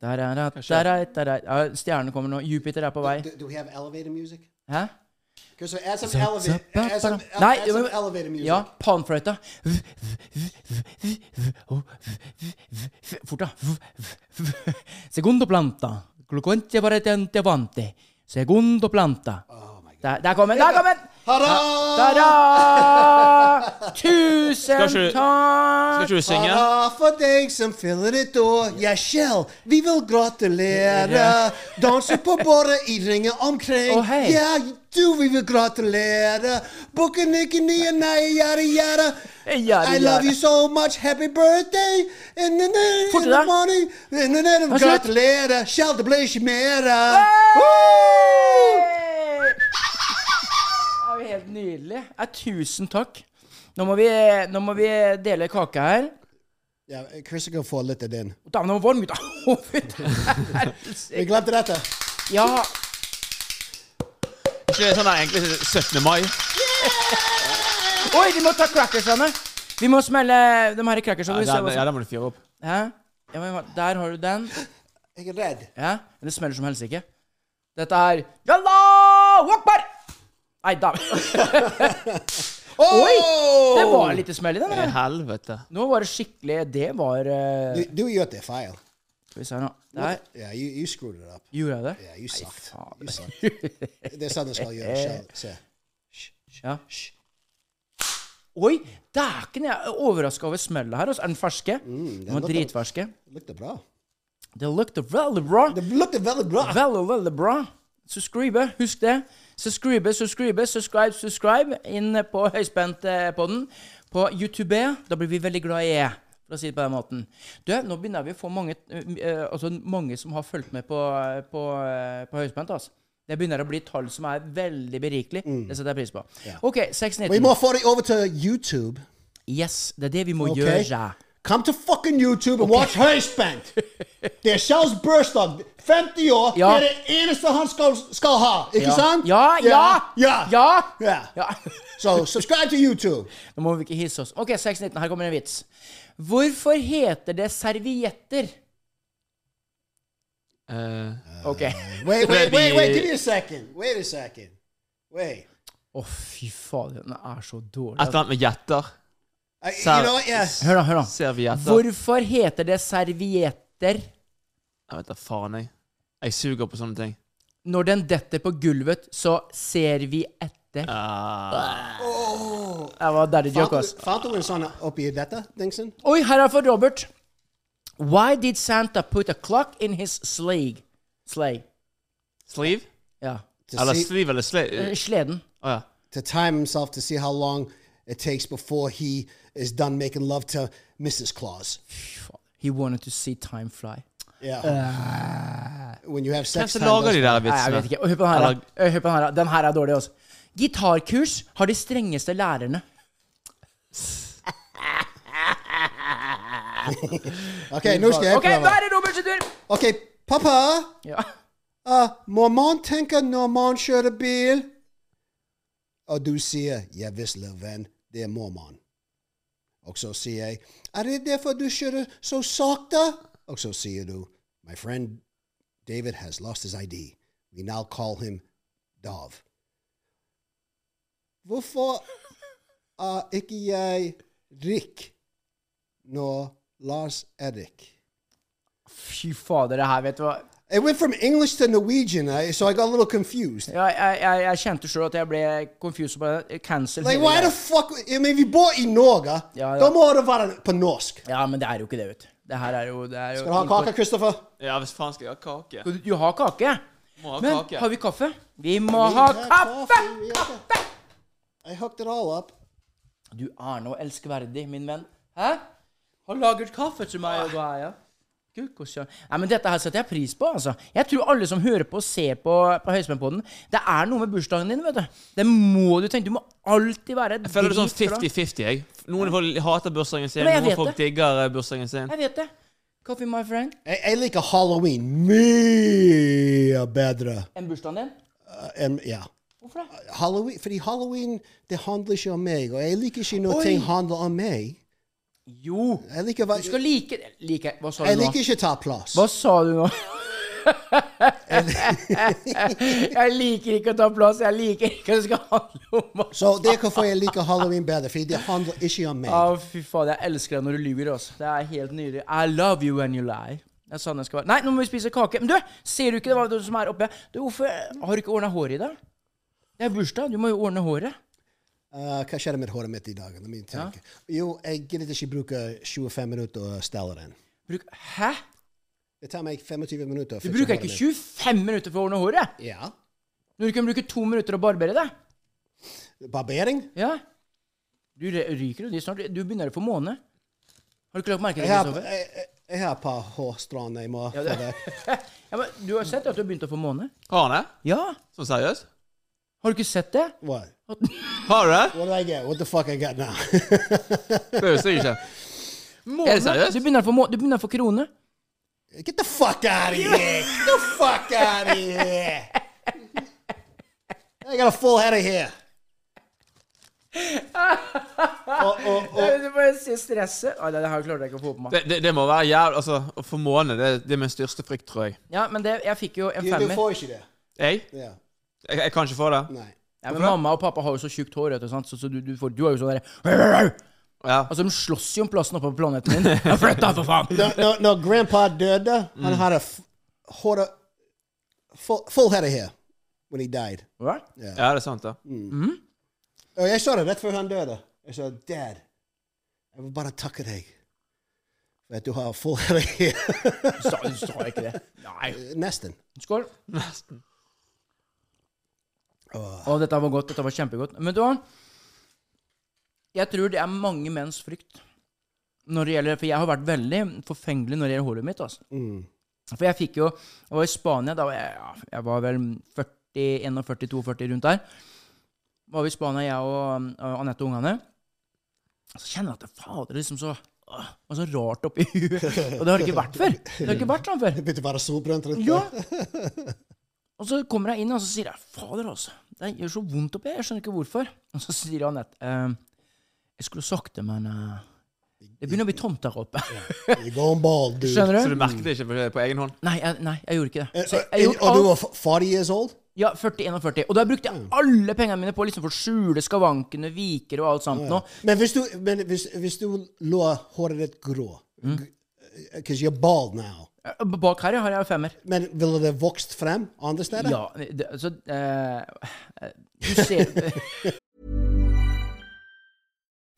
Der er det, der er det, der er det. Ja, Stjernene kommer nå. Jupiter er på vei.
Do, do we have elevator music?
Hæ?
Because add some elevator, add some,
Nei,
add some
men-
elevator music.
Ja, panfløyta. oh, Fort, da. Segundo planta. Gluconte paretente vante. Segundo planta.
Oh
Der, der kom den! Der kom den!
Hurra!
Ta-da! Tusen
Skal ikke-
takk!
Skal ikke du synge?
Hurra for deg som fyller et år. Jeg selv, vi vil gratulere. Danse på båre i ringer omkring.
Å, hei.
Ja, du, vi vil gratulere. Bukken ikke nye, nei, jada, jada.
Jada,
I love
jada.
you so much. Happy birthday. In the, night,
Fort i
in the
deg.
morning. In the night,
Vær så snill.
gratulerer. Skal det bli ikke mer?
Ah. Det er jo helt nydelig. Ja, tusen takk. Nå må, vi, nå må vi dele kake her.
Ja, Christopher får litt av den.
Dæven, den var varm, gutta! Å, fy faen.
Vi glemte dette.
Ja.
Ikke det sånn der egentlig 17. mai?
Oi, vi må ta crackersene! Vi må smelle de her
Ja,
crackersene. vi ser
den,
hva som-
ja, den må du fyre opp.
Hæ? Ja, men, hva- der har du den.
Jeg er redd.
Ja, men det smeller som helsike. Dette er Jalla! Walkbar! Nei, da Oi! Det var litt smell i den.
I
eller?
helvete.
Nå var det skikkelig Det var eh,
Du, du gjør det feil.
Skal vi se nå. Der
Yeah, you, you screwed it up.
gjorde jeg det.
Yeah, you sucked.
faen.
You sucked. Det er sånn det skal gjøre. Shall, se.
Ja. Oi! Dæken, jeg er overraska over smellet her. altså. Er den ferske? den var
lukter-
dritferske.
Det lukter bra.
Det lukter veldig bra.
Det lukter veldig bra.
Veldig, veldig bra. Subscribe, husk det. Subscribe, subscribe, subscribe, subscribe. Inn på Høyspentpodden på YouTube. Da blir vi veldig glad i e, for å si det på den måten. Du, nå begynner vi å få mange, eh, eh, altså mange som har fulgt med på, på, eh, på Høyspent. Altså. Det begynner å bli tall som er veldig berikelig. Det setter jeg pris på. OK,
Mm. Vi må
619.
få deg over til YouTube.
Yes, det er det vi må
ok?
gjøre.
Come to fucking YouTube and watch Høyspent! Det er Kjells bursdag. 50 år.
Ja.
Det er det eneste han skal, skal ha. Ikke sant?
Ja, ja!
Ja.
ja.
Ja.
ja.
So, subscribe to YouTube.
Nå må vi ikke hisse oss. Ok, 619, her kommer en vits. Hvorfor heter det servietter?
Eh,
Ok.
Wait, wait, wait, wait.
Ready.
Give me a second. Wait a second. Wait.
Å, fy fader, den er så dårlig. altså.
et eller annet med gjetter.
I, you
Sal-
know what? Yeah.
Hør da, hør da.
Servietter.
Hvorfor heter det servietter
Jeg vet da faen, jeg. Jeg suger på sånne ting.
når den detter på gulvet, så ser vi etter?
Ah.
Oh.
Det var daddy joke, ass.
Fant du en sånn oppi dette, Dingsen?
Oi, her er for Robert. Why did Santa put a clock in his sleigh? Sleigh.
Sleeve?
Ja.
To
Eller
see-
sleeve eller sleeve?
Eh, Sleden.
Å ja.
to time himself to see how long it takes before he is done making love to Mrs. Claus.
He wanted to see time fly.
Yeah. when you have
Hvem
sex
som
time
lager
goes
de der
Nei, jeg
vitsene?
vet ikke. Og Hør på den her.
Eller-
da. Eh, Hør på den her. da. Den her er dårlig også. Gitarkurs har de strengeste lærerne.
Okay, nu skal jeg
Ok, nå
prøve.
er det Roberts tur!
Okay, pappa,
Ja.
uh, mormon tenker når man kjører bil. Og du sier, ja visst, lille venn, det er mormon. Og så sier jeg, er det derfor du kjører så sakte? Og så sier e du, my friend David has lost his ID. We now call him Dov. Hvorfor er ikke jeg Rick når Lars Erik?
Fy fader, det her, vet du hva.
It went from English to Norwegian, I, so I got a little confused.
Ja, jeg, jeg, jeg kjente sjøl at jeg ble confused på det. Cancel.
Like,
hele
why the
greia.
fuck? I mean, vi bor i Norge,
Ja, ja.
da må det være på norsk.
Ja, men det er jo ikke det, vet du. Det her er jo, det er jo
Skal du ha kake, Christopher?
Ja, hvis faen skal jeg ha kake?
Du, du har kake.
Må ha
Men
kake.
har vi kaffe? Vi må ha
have
kaffe!
coffee, we have
Kaffe!
I hooked it all up.
Du er nå elskverdig, min venn. Hæ? Har laget kaffe til
Ah.
meg og hva er jeg? Gud, hvor søren. Nei, men Dette her setter jeg pris på. altså. Jeg tror alle som hører på og ser på, på Høyspentpodden Det er noe med bursdagen din. vet du. Det må du tenke. Du må alltid være
Jeg føler det er sånn
dritglad.
50-50, jeg. Noen folk hater bursdagen sin,
Ja, men jeg
noen
vet
folk
det.
digger eh, bursdagen sin.
Jeg vet det. Coffee, my friend.
Jeg, jeg liker halloween mye bedre
Enn bursdagen din?
eh, enn Ja.
Hvorfor det?
Halloween, fordi halloween det handler ikke om meg, og jeg liker ikke når
Oi.
ting handler om meg.
Jo,
Jeg liker,
du skal like Like Hva sa
jeg
du nå?
liker ikke å ta plass.
Hva sa du nå? jeg liker ikke å ta plass. Jeg liker ikke at det skal handle om meg.
Så det er hvorfor jeg liker halloween bedre, fordi det handler ikke om meg.
Å, fy faen. Jeg elsker deg når du lyver. Altså. Det er helt nydelig. I love you when you lie. Det er sånn det skal være. Nei, nå må vi spise kake. Men du, ser du ikke det var det som er oppe? Du, hvorfor har du ikke ordna håret i dag? Det er bursdag. Du må jo ordne håret.
Eh, Eh, hva skjedde med håret mitt i dag? La meg tenke. Jo, jeg gidder ikke bruke 25 minutter å stelle den.
Bruk, hæ?
Det tar meg 25 minutter. å
Du
fikse
bruker
håret
ikke
mitt.
25 minutter for å ordne håret?
Ja.
Når du kan bruke to minutter å barbere deg?
Barbering?
Ja. Du re- ryker jo de snart. Du begynner å få måne. Har du ikke lagt merke til
Jeg
det,
har,
Kristoffer?
jeg, jeg- jeg har et par hårstråner jeg må
Ja,
få
det-
vekk.
Ja, men du har sett at du har begynt å få måne?
Har han det?
Ja.
Sånn seriøst?
Har du ikke sett det?
What?
Har du det?
What did I get? What the fuck I got now?
Det visste jeg ikke.
Måne.
seriøst?
Du begynner å få, må du begynner å få krone.
Get the fuck out of here! Get the fuck out of here! I got a full Oh, head of hair. Og, og, og,
Du bare se stresset. Nei, det her klarte jeg ikke å få på meg.
Det, det, det må være jævlig Altså, å få måne, det, det er min største frykt, tror jeg.
Ja, men det, jeg fikk jo en
du, du
femmer.
får ikke det.
Jeg?
Ja.
Jeg, jeg kan ikke få det.
Nei.
Ja, men mamma og pappa har jo så tjukt hår, vet du, sant? så, så du, du, får, du har jo sånn derre
Ja.
Altså, de slåss jo om plassen oppe på planeten min. Ja, Flytt deg, for faen!
Når, når, når grandpa døde, han hadde f- håret full, full head of hair when he died.
Hva?
ja, det er sant, det.
Mm.
Og jeg sa det rett før han døde. Jeg sa, Dad, jeg vil bare takke deg for at du har full head of hair.
Sa, sa jeg ikke det? Nei.
Nesten.
Skål.
Nesten.
Å, dette var godt. Dette var kjempegodt. Men du hva? Jeg tror det er mange menns frykt. Når det gjelder, for jeg har vært veldig forfengelig når det gjelder håret mitt. Altså. For jeg fikk jo Jeg var i Spania. Da var jeg, ja, jeg var vel 41-42-40 rundt der. Var vi i Spania, jeg og og Anette og ungene. Så kjenner jeg at det fader liksom så åh, det var så rart oppi huet. Og det har det ikke vært før. Det har ikke vært sånn før.
Begynte bare å solbrente litt.
Ja. Og så kommer jeg inn, og så sier jeg, fader altså, det gjør så vondt oppi her, jeg skjønner ikke hvorfor. Og så sier Anette, eh, jeg skulle sagt det, men eh, det begynner å bli tomt der oppe.
You're going bald, dude.
Skjønner
Så
du?
du merket det ikke på, på egen hånd?
Nei jeg, nei, jeg gjorde ikke det.
Eh,
Så
eh,
jeg gjorde
og du
alt,
var Mm. f- 40 years old?
ja, 41 og da brukte jeg alle pengene mine på liksom for å skjule skavankene, viker og alt sånt nå.
Men hvis du, men hvis, hvis du lå håret ditt grå
Hm?
Because you're bald now.
Eh, Bak her har jeg femmer.
nou. Men ville det vokst frem andre steder?
Ja, det, så eh, eh, Du ser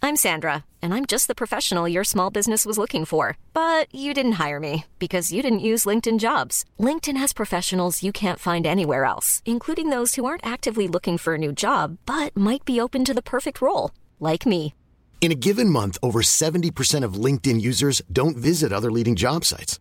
I'm Sandra, and I'm just the professional your small business was looking for. But you didn't hire me because you didn't use LinkedIn jobs. LinkedIn has professionals you can't find anywhere else, including those who aren't actively looking for a new job but might be open to the perfect role, like me.
In a given month, over 70% of LinkedIn users don't visit other leading job sites.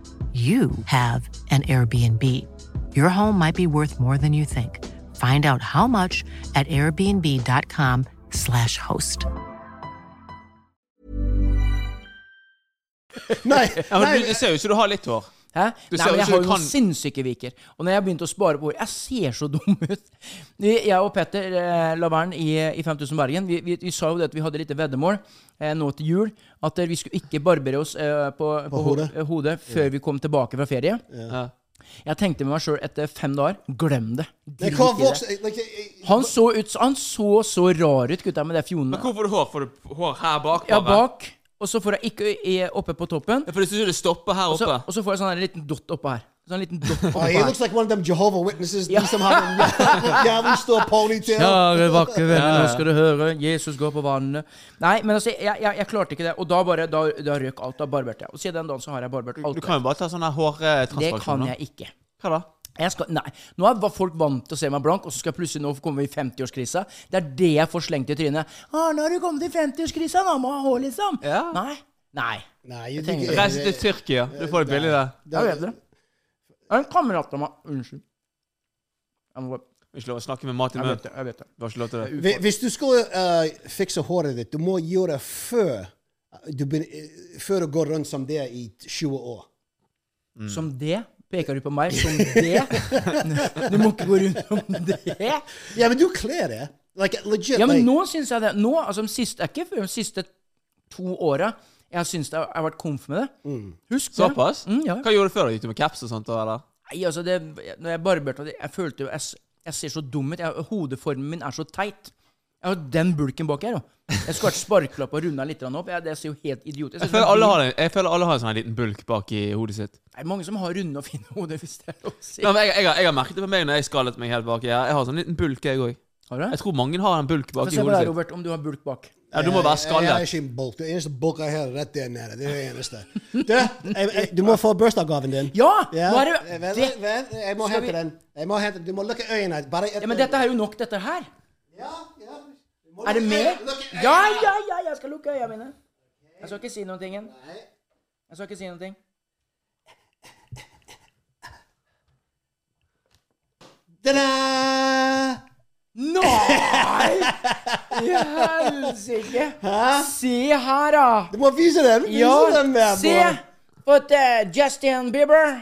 you have an Airbnb. Your home might be worth more than you think. Find out how much at airbnb.com/slash host.
Nei,
Ja,
nei,
men du, du ser jo ikke du har litt hår.
Hæ? Nei,
Du ser
men
jo
jeg
ikke
har
du
jo noen
kan-
sinnssyke viker. Og når jeg begynte å spare på hår Jeg ser så dum ut! Vi, jeg og Petter eh, Lavern i, i 5000 Bergen vi, vi, vi sa jo det at vi hadde litt veddemål eh, nå til jul. At eh, vi skulle ikke barbere oss eh, på, på, ho-
hodet.
eh, hodet før vi kom tilbake fra ferie.
Ja.
Jeg tenkte med meg sjøl etter fem dager Glem det!
det
Drit
kan
i
vokse
det.
like, eh,
Han så ut Han så så rar ut, gutta, med det fjonet.
Hvor får du hår? Får du hår her bak?
Ja,
bare?
bak, og så får jeg ikke i- oppe på toppen.
Ja, For du syns det stopper her
Og så,
oppe?
og så får jeg sånn her liten dott oppå her. Sånn liten dott oppå
oh, He
her.
looks like one of them Jehovah Witnesses. De som har en jævlig- jævlig stor ponytail.
Kjære, vakre venner, nå skal du høre. Jesus går på vannet. Nei, men altså, jeg, jeg, jeg klarte ikke det. Og da bare, da, da røk alt. Da barberte jeg. Og siden den dagen så har jeg barbert alt.
Du kan jo bare ta sånne
det
hårtransportasjoner.
kan jeg ikke.
Hva da?
Jeg skal, nei, Nå er var folk vant til å se meg blank, og så skal jeg plutselig nå komme i 50-årskrisa. Det er det jeg får slengt i trynet. Å, 'Nå har du kommet i 50-årskrisa, nå må du ha hår', liksom.
Ja.
Nei. Nei.
Nei, jeg,
tenker-
liker-
Reis til Tyrkia. Du får det billig der.
Jeg vet det. Det er en kamerat av meg Unnskyld. Jeg, må,
Ikke lov å snakke med mat i
jeg vet
munnen.
det. jeg vet det.
Du har ikke lov til det.
Hvi- Hvis du skulle eh, fikse håret ditt, du må gjøre det før Du begynner, før du går rundt som det i 20 år.
Mm.
Som det? Peker du på meg som det? Du må ikke gå rundt som det.
Ja, men du kler det. Like, legit,
Ja, men
like,
nå syns jeg det. Nå, altså de siste, er ikke før de siste to åra jeg har syntes det har- jeg har vært komf med det. Husk det.
Såpass?
Mm, ja.
Hva gjorde du før? da? Gikk du med caps og sånt? da, Eller?
Nei, altså, det, når jeg barberte meg, jeg følte jo jeg, s- jeg ser så dum ut. Jeg, hodeformen min er så teit. Jeg har den bulken bak her, jo. Jeg skulle vært sparklapp og runda litt grann opp. Jeg, det ser jo helt idiotisk ut.
Jeg føler, alle har en, jeg føler alle har en sånn her liten bulk bak i hodet sitt.
Det er mange som har runde og fine hoder, hvis det er lov å si.
Nei, men jeg, jeg, har- jeg har merket det på meg når jeg skallet meg helt baki her. Jeg har sånn liten bulk, jeg òg.
Har du det?
Jeg tror mange har en bulk
Få
bak i
se på deg,
hodet sitt.
Robert, om du har bulk bak.
Ja, du må være
Jeg har
skallet.
ikke en bulk. Det eneste bulk jeg har, er rett der nede. Det er det eneste. Du, jeg, jeg, du må få bursdagsgaven din.
Ja! Nå er det-
Eh, Vent,
det-
vent, jeg må
Skal
hente
vi-
den. Jeg må hente, du må lukke øynene. Bare et,
Ja, men dette er jo nok, dette her.
Ja, ja. Du må
Er det
lukke
mer?
øynene, lukke øynene.
Ja, ja, ja, jeg skal lukke øya mine. Jeg skal ikke si noen ting. igjen. Jeg skal ikke si noen ting.
Ta-da!
Nei! I helsike! Se her, da.
Du må vise den. Vise den med,
se! Fått eh, Justin Bieber.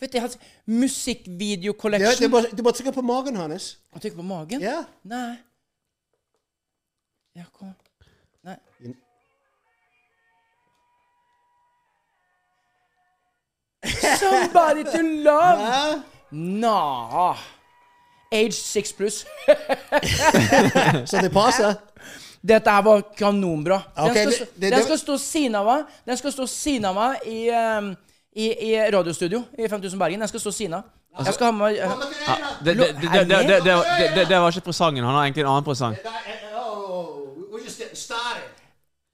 Vet du, hans
Ja, du,
musikkvideo-collection.
må, du må trykke på magen hans.
Han trykker på magen?
Ja.
Nei. Ja, kom. Nei. Somebody to love!
Ja.
Nå. Age 6 pluss.
Så det passer.
Dette her var kanonbra. Den,
Ok,
skal,
det-
stå-
det-
den
det-
skal stå Sinava Den skal stå Sinava i, ehm, i, i radiostudio i 5000 Bergen. Den skal stå Sina. Jeg skal ha med meg eh,
Altså-
Ja, det, det, det, det, det, det, det, det, det var ikke presangen. Han har egentlig en annen presang.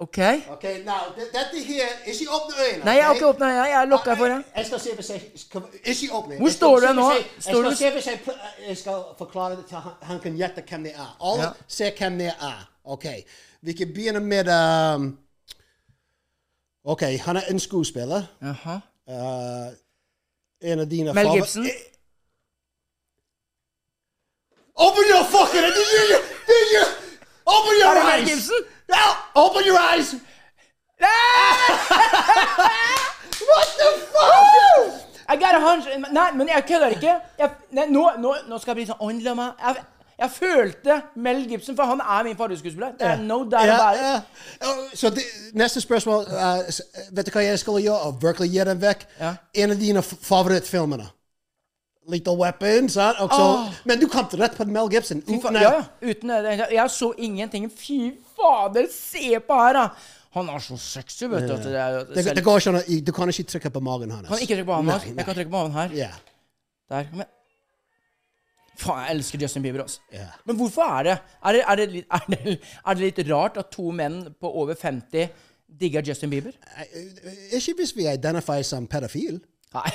OK?
Okay, now th- dette her Ikke åpne øynene.
Nei, jeg har ikke åpna øya. Jeg er lukka for det.
Jeg skal se hvis jeg skal- Ikke åpne.
Hvor
Jeg skal
står
se
du nå?
hvis jeg-
Står
Jeg
du-
skal se hvis jeg pl- jeg skal forklare det til han, han kan gjette hvem det er. Alle
Ja.
ser hvem det er. Ok. Vi kan begynne med um, Ok, han er en skuespiller.
Jaha.
Uh, en av dine
Mel
favor-
Gibson.
Eh, Open your fucking Did you, did you, Open your
Er det Mel
eyes!
Gibson?
No! Open your eyes! What the fuck?
I got a hunch Nei, men jeg kødder ikke. Jeg, nei, nå, nå, nå skal jeg bli sånn ordentlig av meg. Jeg, jeg følte Mel Gibson, for han er min favorittskuespiller. Det er No doubt
Ja,
about it.
ja. Oh, Så det, neste spørsmål eh, s- Vet du hva jeg skal gjøre? Og virkelig gi den vekk?
Ja.
En av dine f- favorittfilmene. Little Weapon, sant? Og så, Men du kom rett på Mel Gibson.
Fy faen,
Uten-
ja, ja. Uten, jeg, jeg så ingenting. Fy fader, se på her, da! Han er så sexy, vet du. at Det, er,
Det, det går ikke an å- Du kan ikke trykke på magen hans.
Kan ikke trykke på han
Nei,
her. Jeg kan trykke på han her.
Ja.
Der. Kom igjen. Faen, jeg elsker Justin Bieber, altså.
Ja.
Men hvorfor er det? Er det, er, det litt, er, det, er det litt rart at to menn på over 50 digger Justin Bieber?
Ikke hvis vi identifier som pedofil.
Nei.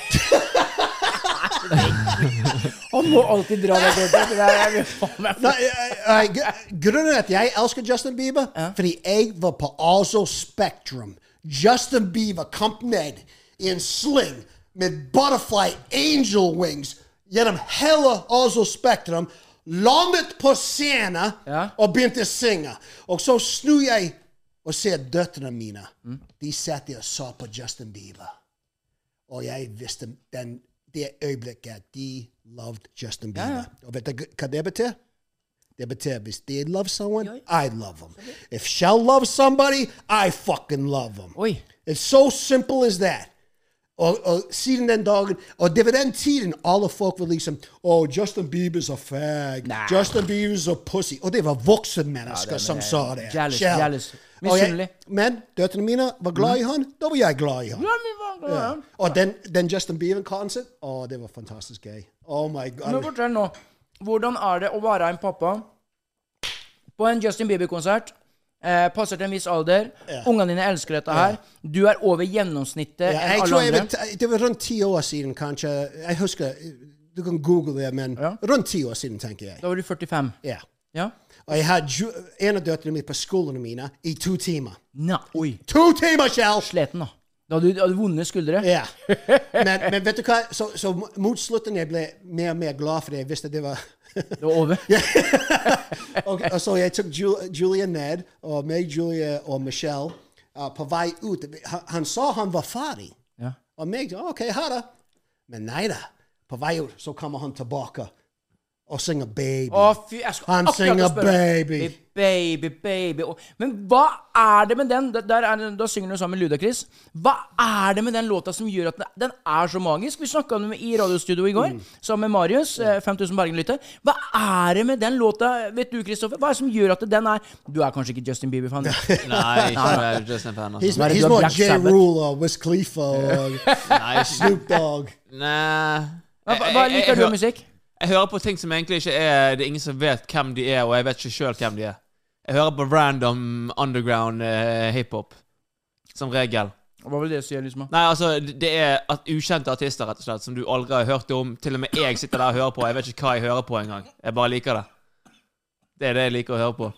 Han må alltid dra deg bort. Det der er faen meg
Nei, jeg- jeg- gr- grunnen til at jeg elsker Justin Bieber, fordi jeg var på Oslo Spektrum. Justin Bieber kom ned i en sling med butterfly angel wings gjennom hele Oslo Spektrum, landet på scenen
Ja.
og begynte å synge. Og så snur jeg og ser døtrene mine. De satt der og så på Justin Bieber. Oh, Og jeg visste den, det øyeblikket at de loved Justin Bieber. Og vet du hva det betyr? Det betyr hvis de love someone, I love them. If Shell loves somebody, I fucking love them.
Oi.
It's so simple as that. Og, og siden den dagen, og det var den tiden alle folk var liksom Oh, Justin Bieber's a fag. Justin Bieber's a pussy. Og det var voksne
Oh,
mennesker som sa det.
jealous,
Shell. Oh,
jealous. Mm-hmm.
Og jeg-
Misunnelig.
Men døtrene mine var glad i han. Da var jeg glad i han.
Ja, men hva- hva-
Ja. Og den, den Oh, Justin Oh, Bieber-konserten, å, det var fantastisk gøy. Oh my
Men
god.
fortell nå. Hvordan er det å være en pappa på en Justin Bieber-konsert? Eh, passer til en viss alder. Ungene dine elsker dette her. Du er over gjennomsnittet
Ja,
enn
jeg
alle
tror jeg
andre.
vet, eh, det var rundt ti år siden, kanskje. Jeg husker, eh, Du kan google det, men
Ja.
rundt ti år siden, tenker jeg.
Da var du 45.
Ja.
Ja?
Og jeg hadde ju- en av døtrene mine på skolen mine i to timer.
Nei, oi.
To timer, Kjell!
Sliten, da. Da hadde du hadde vonde skuldre.
Ja. Men, men vet du hva? Så, så mot slutten jeg ble mer og mer glad for det. Jeg visste det var
Det var over.
uh, og, og så jeg tok Ju- Julia ned, og meg, Julia og Michelle. eh, på vei ut. Han, han sa han var ferdig.
Ja.
Og meg, oh, OK, ha det. Men nei da. På vei ut så kommer han tilbake og synger 'Baby'.
Å, fy, jeg skulle
Han
akkurat til å
synger
spørre.
baby.
Baby, baby Å, Men hva er det med den? Da- Der er, da synger du sammen med Ludacris. Hva er det med den låta som gjør at den, den er så magisk? Vi snakka om den i radiostudio i går, sammen med Marius. eh, 5000 Bergen-lytter. Hva er det med den låta, vet du, Kristoffer? Hva er det som gjør at den er Du er kanskje ikke Justin Bieber-fan? du?
Nei, ikke det, Justin Fan.
He's,
Altså.
Nei, du
he's
har
more
Black
J.
Sabbath.
Rule or Wiz Khalifa or
Nei, ikke,
Snoop Dogg.
nei.
Hva, hva- hva liker du av musikk?
Jeg hører på ting som egentlig ikke er Det er ingen som vet hvem de er, og jeg vet ikke sjøl hvem de er. Jeg hører på random underground eh, hiphop. Som regel.
Hva vil det si, liksom?
Nei, altså, det er at ukjente artister, rett og slett, som du aldri har hørt om. Til og med jeg sitter der og hører på. Jeg vet ikke hva jeg hører på engang. Jeg bare liker det. Det er det jeg liker å høre på.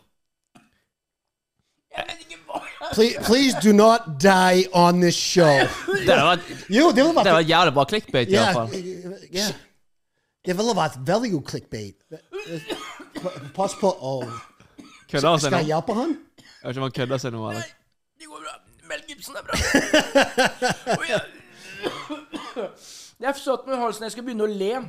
Please, please do not die on this show.
Det var,
Jo, det ville
det var
vært
jævlig bra clickbait, i hvert
Ja,
fall.
ja. Det ville vært veldig god clickbait. Pa- Pass på oh.
Kødder han seg
Skal
nå?
jeg hjelpe han?
Jeg vet ikke om han kødder seg nå, eller?
Det går bra. Mel Gibson er bra. Oi, ja. Jeg satt med halsen jeg skulle begynne å le.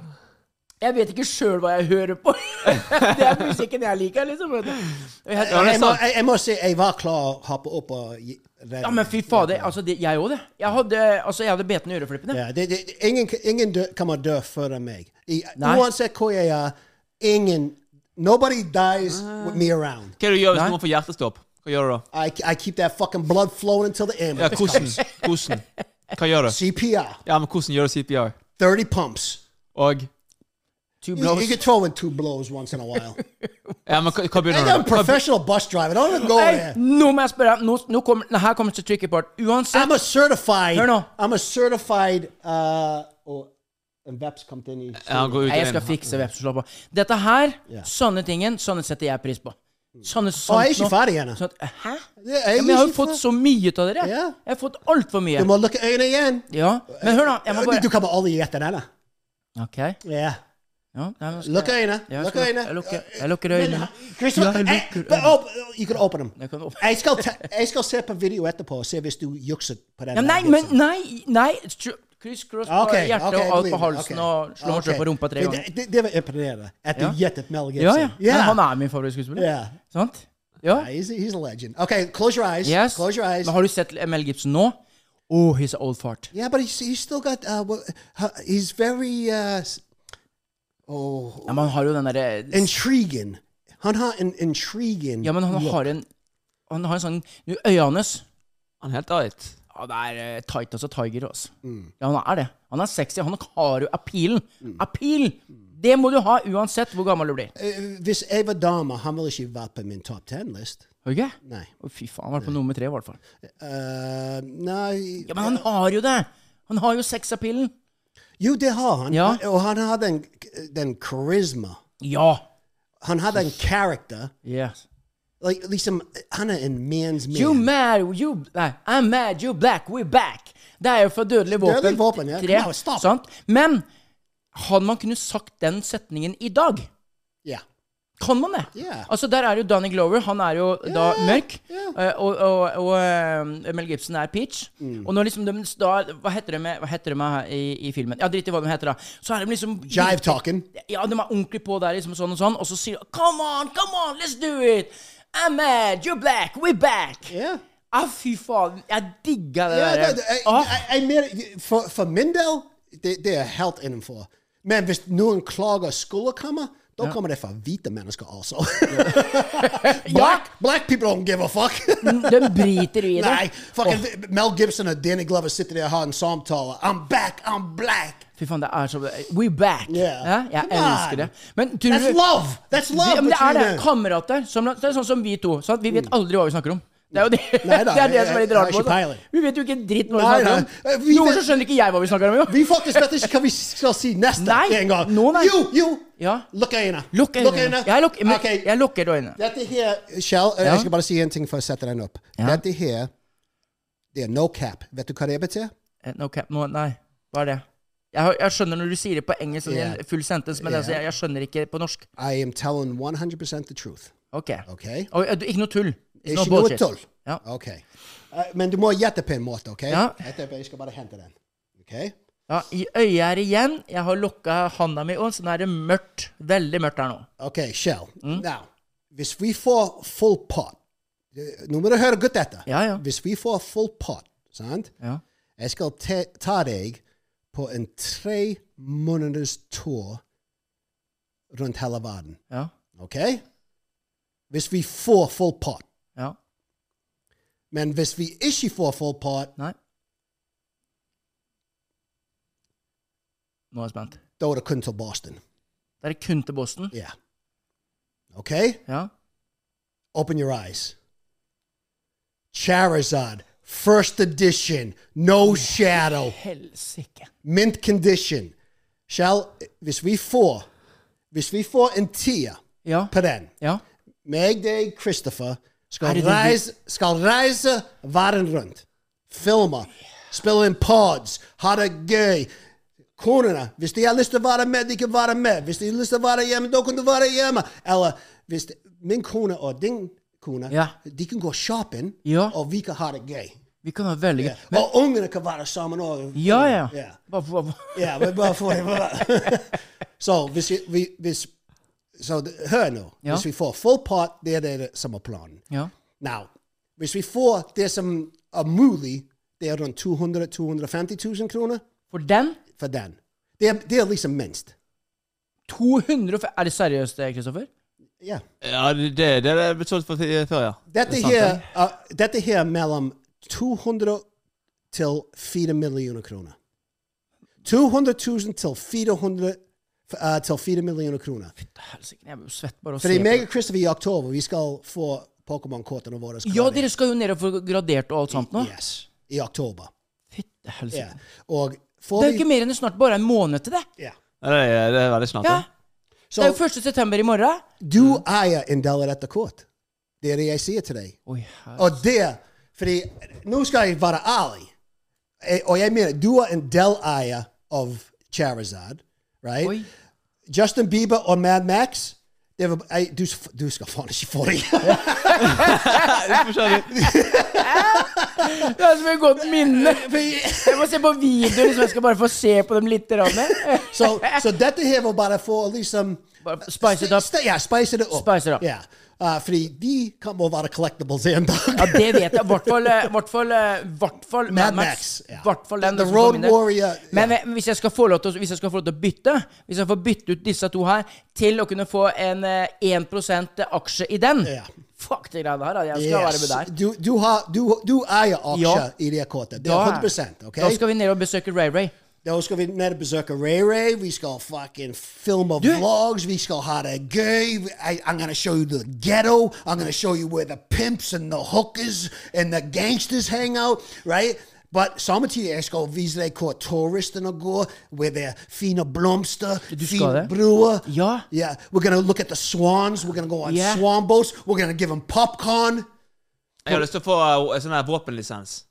Jeg vet ikke sjøl hva jeg hører på. det er musikken jeg liker, liksom. vet du. Og jeg-
det er
Jeg må,
sant.
jeg, jeg må si jeg var klar å hoppe opp og gi- redde
Ja, men fy fader. Altså, det, er jeg òg, det. Jeg hadde, altså, jeg hadde beten i øreflippene.
Ja, det, det, ingen ingen dø, kommer dø før meg. I,
Nei.
uansett hvor jeg er, ingen Nobody dies
Ah.
with me around.
Hva er det du gjør
Nei.
hvis noen får hjertestopp? Hva gjør du da?
I, I keep that fucking blood flowing until the end.
Ja, hvordan? Hvordan? Hva gjør du?
CPR,
Ja, men hvordan gjør du CPR?
30 pumps.
Og
Two
You,
blows.
you can throw in two blows once in a while.
Ja, men hva hva begynner
I'm
du
a
med? Hva-
professional bus driver. Don't even go
Nei,
there.
nå må jeg spørre. Nå, nå kommer, nei, her kommer det til tricky part. Uansett
I'm a certified.
Hør nå.
I'm a certified uh, oh, En veps kom inn i
Ja, han går ut
Nei, jeg
og
skal
inn.
fikse vepseslappa. Dette her, sånne tingen, sånne setter jeg pris på. Sånne
Å, jeg
sant
er
nå.
ikke ferdig ennå.
Sånn at- Hæ?
Jeg er
Ja, men jeg har jo
ikke
fått
ferdig.
så mye ut av dere.
Ja.
Jeg har fått altfor mye.
Du må lukke øynene igjen.
Ja, Men hør, da. Jeg må
Du- Du
bare
kommer aldri gjette den. da.
OK.
Ja.
Ja, nei, nå skal
Lukk
jeg-
øynene.
Ja, jeg
Lukk
skal-
øynene.
Jeg lukker, jeg lukker øynene.
Christopher,
Jeg
jeg,
lukker
but
øynene.
op- øh, you can open them.
Jeg kan åpne-
Jeg skal, ta- jeg skal se på video etterpå og se hvis du jukset på den.
Ja,
der
nei, men
vipsen.
nei! nei tr- Kryss, cross på
Ok,
hjertet og
ok,
alt på
believe me,
halsen
ok.
og slå meg sjøl
Ok.
på rumpa tre
Det-
ganger.
Det, det var imponerende. At du
Ja.
gjettet Mel
Ja,
Gibson.
ja.
Yeah.
Men han er min favorittskuespiller.
Yeah.
Sant? Ja.
He's, he's a legend. Okay, close your eyes.
Yes.
Close your eyes.
Men har du sett Mel Gibson nå? Oh, he's an old fart.
Yeah, but he's, he's still got. Uh, wha- uh, he's very uh, s- oh,
Ja, men han har jo den derre
intriguing. Han har en intriguing.
Ja, men han har en Han har en sånn nu, Øya hans
Han er helt right.
Ja, det er eh, tight, altså. Tiger, altså.
Mm.
Ja, han er det. Han er sexy. Han har jo appealen. Appeal! Det må du ha uansett hvor gammel du blir.
Eh, Hvis jeg var dame, han ville ikke vært på min top ten-list.
Har du ikke?
Nei.
Å, fy faen. Han var på nummer tre, i hvert fall.
Eh, nei
Ja, Men han har jo det! Han har jo sexappealen.
Jo, det har han.
Ja.
Og han har den, den karisma.
Ja.
Han har den character.
Yes.
Like, liksom, han er en man's man.
You mad, you Nei, I'm mad, you black, we're back. Det er jo fra Dødelig våpen.
Dødelig våpen, ja.
Tre,
Come on, stop.
sant? Men hadde man kunnet sagt den setningen i dag?
Ja.
Kan man det?
Ja.
Altså Der er jo Danny Glover. Han er jo da mørk.
ja.
eh, Og, og, og eh, Mel Gibson er peach.
Mm.
Og når liksom de da Hva heter de, hva heter de her i, i filmen? Ja, drit i hva de heter, da. Så er de liksom
Jive talking.
Ja, de er ordentlig på der, liksom sånn og sånn. Og så sier de Come on, come on, let's do it! I'm mad, you're black, we're back!
Ja.
Ah, fy faen. Jeg digga det
Ja,
der.
det- det- jeg-
Ah,
jeg- jeg mener, for, for min del, det, det er helt innenfor. Men hvis noen klager skolekammer, da kommer det fra hvite mennesker også. black, black people don't give a fuck.
de briter i det.
Nei,
Oh.
fucking Mel Gibson og Danny Glover sitter der og har en samtale. I'm back, I'm black.
Fy faen, det er så We back!
Yeah.
Ja, jeg
Come on.
elsker det. Men tror
That's
du
love! That's love
Ja, men det er det.
between them.
Kamerater. Som, det er sånn som vi to. Sant? Vi vet aldri hva vi snakker om. Det er jo det,
Nei da,
det, er det som er
jeg-
litt
jeg har
rart. med
ikke
oss, da.
peiling.
Vi vet jo ikke en dritt hva vi
Nei,
snakker
nei. Eh,
om.
vi
Noen
vet-
så skjønner ikke jeg hva vi snakker om, jo.
Vi faktisk vet ikke hva vi skal si neste
Nei,
en gang.
nå nei.
Jo, jo!
Ja.
Lukk øynene.
Lukk øynene. Jeg lukker, men,
Ok,
jeg lukker øynene.
Dette her, Kjell,
Ja.
jeg skal bare si en ting for å sette den opp.
Ja.
Dette her, det er no cap. Vet du hva det betyr?
Eh, No cap, no, nei. Hva er det? Jeg, har- jeg skjønner når du sier det på engelsk, sånn i en
Yeah.
full sentence, men
Yeah.
altså, jeg, jeg skjønner ikke på norsk.
I am telling 100% the truth.
Ok.
Ok?
Og, eh, du- ikke noe tull. It's not
Ikke noe
bullshit.
tull.
Ja.
Ok. Eh, men du må gjette på en måte, OK?
Ja.
Jeg tenker jeg skal bare hente den. OK?
Ja, I øyet her igjen. Jeg har lokka handa mi òg, så nå er det mørkt. Veldig mørkt her nå.
OK, Shell.
Hmm?
Now, hvis vi får full pot eh, Nå må du høre godt etter.
Ja, ja.
Hvis vi får full pot, sant
Ja.
Jeg skal te ta deg på en tre måneders tur rundt hele verden.
Ja.
OK? Hvis vi får full pot.
Ja.
Men hvis vi ikke får full pot,
Nei. Nå er jeg spent.
da er det kun til Boston.
Da er det kun til Boston.
Ja. OK?
Ja.
Open your eyes. Charizard, first edition, no shadow.
Helsike.
mint condition. Shall, hvis vi får hvis vi får en tier
Ja.
på den
Ja.
Meg, deg, Christopher skal
Er det det-
reise, skal reise verden rundt. Filme, spille inn pods, ha det gøy. Konene, hvis de har lyst til å være med, de kan være med. Hvis de har lyst til å være hjemme, da kan du være hjemme. Eller hvis de, min kone og din kone
Ja.
de kan gå shopping,
Ja.
og vi kan ha det gøy.
Vi kan ha veldig gøy. Men-
Og ungene kan være sammen òg.
Ja, ja.
Ja.
Hva- hva- hva-
Ja, men bare for Så hvis vi, vi hvis, Så d- hør nå.
Ja.
Hvis vi får full pot, det er det som er planen.
Ja.
Now, hvis vi får det som er mulig, det er rundt 200 250 000 kroner
For den
for den. Det er, det er liksom minst.
200 for- Er det seriøst, eh, Kristoffer?
Ja.
Ja, det, det, det er det betalt for ti- før, ja.
Dette,
Det er sant,
her,
det.
uh, dette her er mellom 200 til 4 millioner kroner. 200 000 til 400 uh, til 4 millioner kroner.
Helsike, jeg blir jo svett bare av å se
Fordi
på
meg
det.
og Christopher i oktober, vi skal få Pokémon-kortene våre. skal
Ja,
være-
dere skal jo ned og få gradert og alt sånt nå.
Yes, i oktober.
Fytte
Ja.
helsike.
Og får
Det er jo
vi-
ikke mer enn snart bare en måned til det.
Ja.
Ja, Det er, det er veldig snart.
Ja.
Ja.
Så
Det er jo 1. september i morgen.
du eier en del av dette kort. Det er det jeg sier til deg.
Oi,
Og det Fordi nå skal jeg være ærlig. Eh, Og jeg mener, du er en deleier av Charizard, right?
Oi.
Justin Bieber og Mad Max det var, jeg, du, du skal faen ikke få det.
Det er som et godt minne. Jeg må se på videoen, liksom. Jeg skal bare få se på dem litt. grann.
så, så dette her var bare for å liksom
Bare spice it up.
St- Ja, spice det opp.
Spice it up.
Ja. Uh, fordi de kan bare være collectibles en dag.
Ja, det vet jeg. I hvert fall, eh, hvert fall, eh, hvert fall
Mad
Mad Max.
Max, ja.
Hvert fall den
The
som får
Road
min del.
Warrior,
Men
ja.
eh, hvis jeg skal få lov til å- hvis jeg skal få lov til å bytte, hvis jeg får bytte ut disse to her til å kunne få en eh, 1 aksje i den
Ja.
Fuck det greiene her. da. Jeg skal være med der.
Du, du, har, du, du eier aksjer
Ja.
i det kortet. Det
Da
er
er-
100 ok?
Da skal vi ned og besøke Ray Ray.
Da skal vi ned og besøke Ray Ray. Vi skal fucking filme
Du-
vlogs. Vi skal ha det gøy. I, I'm gonna show you the ghetto. I'm gonna show you where the pimps and the hookers and the gangsters hang out, right? But samtidig jeg skal vise deg hvor turistene går, where det er fine blomster,
Du skal
fine
det?
bruer.
Ja.
Yeah. We're gonna look at the swans. We're gonna go on
Yeah.
swan boats. We're gonna give them popcorn.
Jeg har lyst til å få eh, sånn her våpenlisens.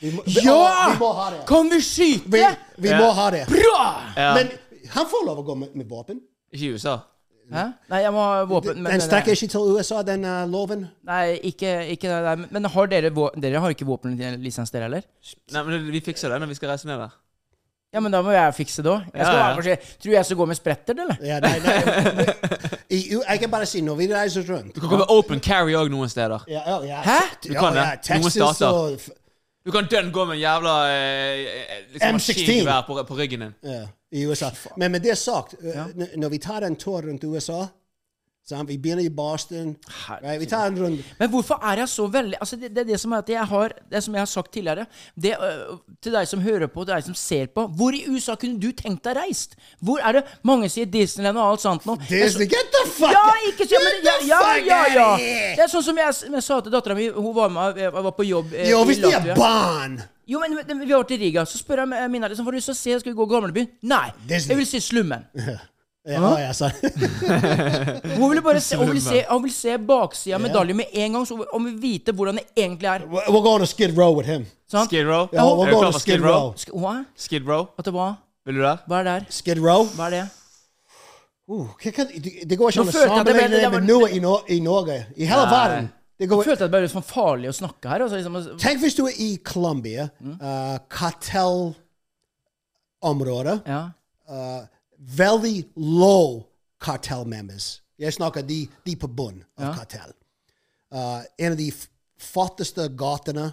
Vi må ha det.
Kan vi skyte?
Vi, vi må
Ja.
ha det.
Bra!
Ja.
Men han får lov å gå med, med våpen.
Ikke i USA.
Hæ? Nei, jeg må ha våpen. men-
Den strekker ikke til USA, den uh, loven.
Nei, ikke, ikke det der. Men har dere, vå- dere har ikke våpenlisens, dere heller?
Nei, men Vi fikser det når vi skal reise ned der.
Ja, men da må jeg fikse det òg.
Ja, ja.
Tror jeg skal gå med spretter, eller?
Ja, nei, nei, I, jo, jeg kan bare si når vi reiser rundt
Du kan gå med open carry òg noen steder.
ja, ja, ja.
Hæ?
T-
Du kan
ja,
det.
ja,
Noen
Oh, Texas
stater.
og f-
Du kan dønn gå med en jævla eh, eh, liksom
M16.
maskingevær på, på ryggen din.
ja, i USA. Men med det sagt, uh, n- når vi tar den tur rundt USA sant? Vi begynner i Boston. Right? Vi tar en runde
Men hvorfor er jeg så veldig Altså, det, det er det som er at jeg har Det som jeg har sagt tidligere, det, øh, til deg som hører på, til deg som ser på Hvor i USA kunne du tenkt deg reist? Hvor er det Mange sier Disneyland og alt sånt nå. Jeg så-
Disney, Get the fuck
Ja, ikke se, men,
Get
ja,
the
ja,
fuck
ja, ja.
out of here!
Det er sånn som jeg, s- jeg sa til dattera mi Hun var med jeg var på jobb eh,
Jo,
i
hvis de
Latvia.
er barn
Jo, men men vi har vært i Riga. Så spør jeg eh, Mina liksom, får du lyst til å se, skal vi gå Gamlebyen? Nei,
Disney.
jeg vil se slummen.
ja, ja, så.
Hun ville bare se, hun ville se, hun ville se baksida av medaljen med en gang, så hun- hun vil vite hvordan det egentlig er.
We're we're going to Skid Row with him.
Sant?
Skid Row.
Ja,
Er
we're
du
going
klar
to
for
Skid
Skid Row?
Row.
Sk- Hva?
Skid Row.
At det var?
Vil du der?
Hva er der?
Skid Row.
Hva er det?
Uh, hva kan, det det går ikke
Nå
an å
følte jeg at det var-
sammenligne det
det
med
var-
noe i, Nor- i Norge. I hele
Nei.
verden. Det går,
Jeg følte at det ble litt sånn farlig å snakke her. Altså, liksom,
tenk hvis du er i Colombia, uh, kartellområde,
ja.
uh, veldig low cartel members. Jeg snakker de, de på bunn av kartell. Uh, en av de f- flotteste gatene.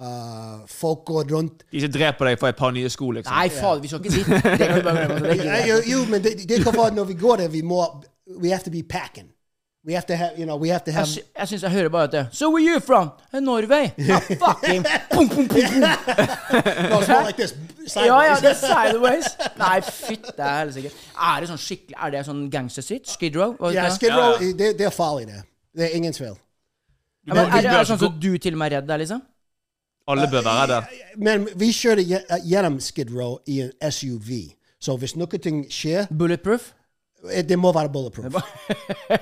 Uh, folk går rundt
De som dreper deg for et par nye sko, liksom.
Nei, faen, vi skal ikke dit. Det kan vi bare altså. glemme. Det
Yeah,
gidder
you,
jeg ikke.
you, man, they, they come out and we go there, we more, we have to be packing. We have to have, you know, we have to
Jeg,
have.
sy jeg syns jeg hører bare at det So where you from? Eh, Norway. Ah, fucking pum, pum, pum, pum.
No, it's more like this.
Ja, ja, det er
sideways.
sideways. Nei, fytt, det er helsike. Er det sånn skikkelig Er det sånn gangstersitt? Skid Row? Hva
yeah,
heter det?
Skid Row, they, they're folly there. They're ingen tvil.
Ja, men, er, det, er det sånn
ikke
at du til og med er redd der, liksom?
Alle bør være der.
Men vi kjørte gje- eh, gjennom Skid Row i en SUV. Så hvis noe ting skjer,
Bulletproof?
eh, det må være bulletproof.
Ja,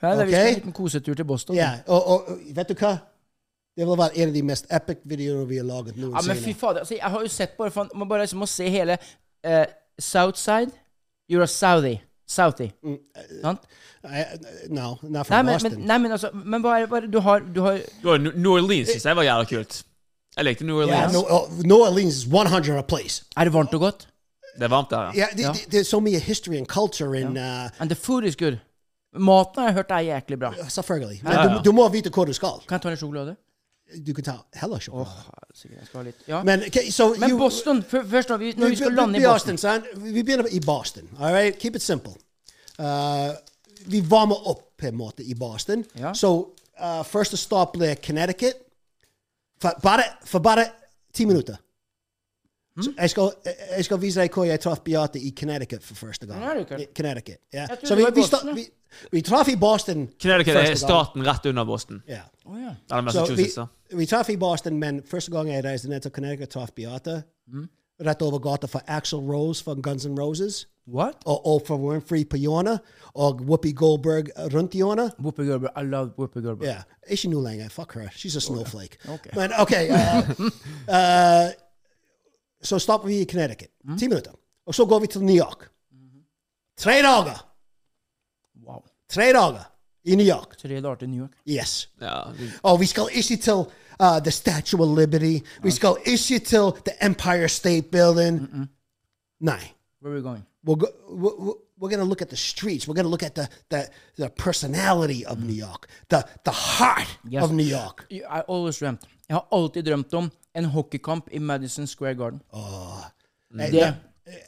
det er
Ok.
Vi skal ha en liten kosetur til Boston.
Ja, og, og og vet du hva? Det vil være en av de mest epic videoene vi har laget
Ja, men fy
noensinne.
fader. Altså, jeg har jo sett bare faen, Man bare liksom må se hele eh, Southside. You're a Southie. Southie. Sant?
Eh, No, not
Nei, men,
from Mm. Boston.
men, nei, men altså Men hva er det bare Du har, du har
Du har New- New Orleans synes jeg var jævla kult. Jeg likte New
Yeah,
Orleans.
New, oh, New Orleans is 100 a place.
Er det varmt og godt?
Det er varmt der, ja.
Yeah, th- th- there's so many history and culture in uh,
And the food is good. Maten har jeg hørt er jæklig bra.
Selvfølgelig.
Ja,
Men
ja.
uh, du, du må vite hvor du skal.
Kan jeg ta litt sjokolade?
Du kan ta heller sjokolade.
Sikkert jeg skal ha litt Ja. Men,
Men, okay, so you-
Oh. Boston før- Først når vi, når vi skal lande i Boston
Boston, son. Vi begynner i Boston. All right? Keep it simple. Uh, vi varmer opp på en måte i Boston.
Ja.
Så uh, første stopp ble Connecticut. For bare, for bare ti minutter.
Hmm?
Så jeg, skal, jeg skal vise deg hvor jeg traff Beate i Connecticut for første gang.
Connecticut?
I Connecticut, ja.
er Jeg tror det
Så vi,
var i
vi, sta-
Boston, ja.
vi, vi traff i Boston
Connecticut er
første gang.
staten rett under Boston.
Ja.
Å, ja.
Eller
Så vi,
Massachusetts, da.
vi traff i Boston, men første gang jeg reiste ned til Connecticut, traff Beate. Rett over gata for Axel Rose fra Guns N' Roses.
What?
Og Oprah Winfrey på hjørnet. Og Whoopi Goldberg uh, rundt hjørnet.
Whoopi Goldberg. I love Whoopi Goldberg.
Ja. Ikke nå lenger. Fuck her. She's a snowflake.
Okay.
Men OK. uh, uh, så stopper vi i Connecticut. Oh, Ti minutter. Og så går vi til New York. Tre dager!
Wow.
Tre dager i New York.
Tre dager til New York.
Yes.
Ja, vi-
Oh, we skal ikke til uh, The Statue of Liberty. Vi skal ikke til The Empire State Building. Nei.
Where are we going?
We're, go- we're, we're- we're going to look at the streets. We're going to look at the, the, the personality of New York, the, the heart
Yes.
of New York.
I always dreamt. Jeg har alltid drømt om en hockeykamp i Madison Square Garden.
Eh,
Det,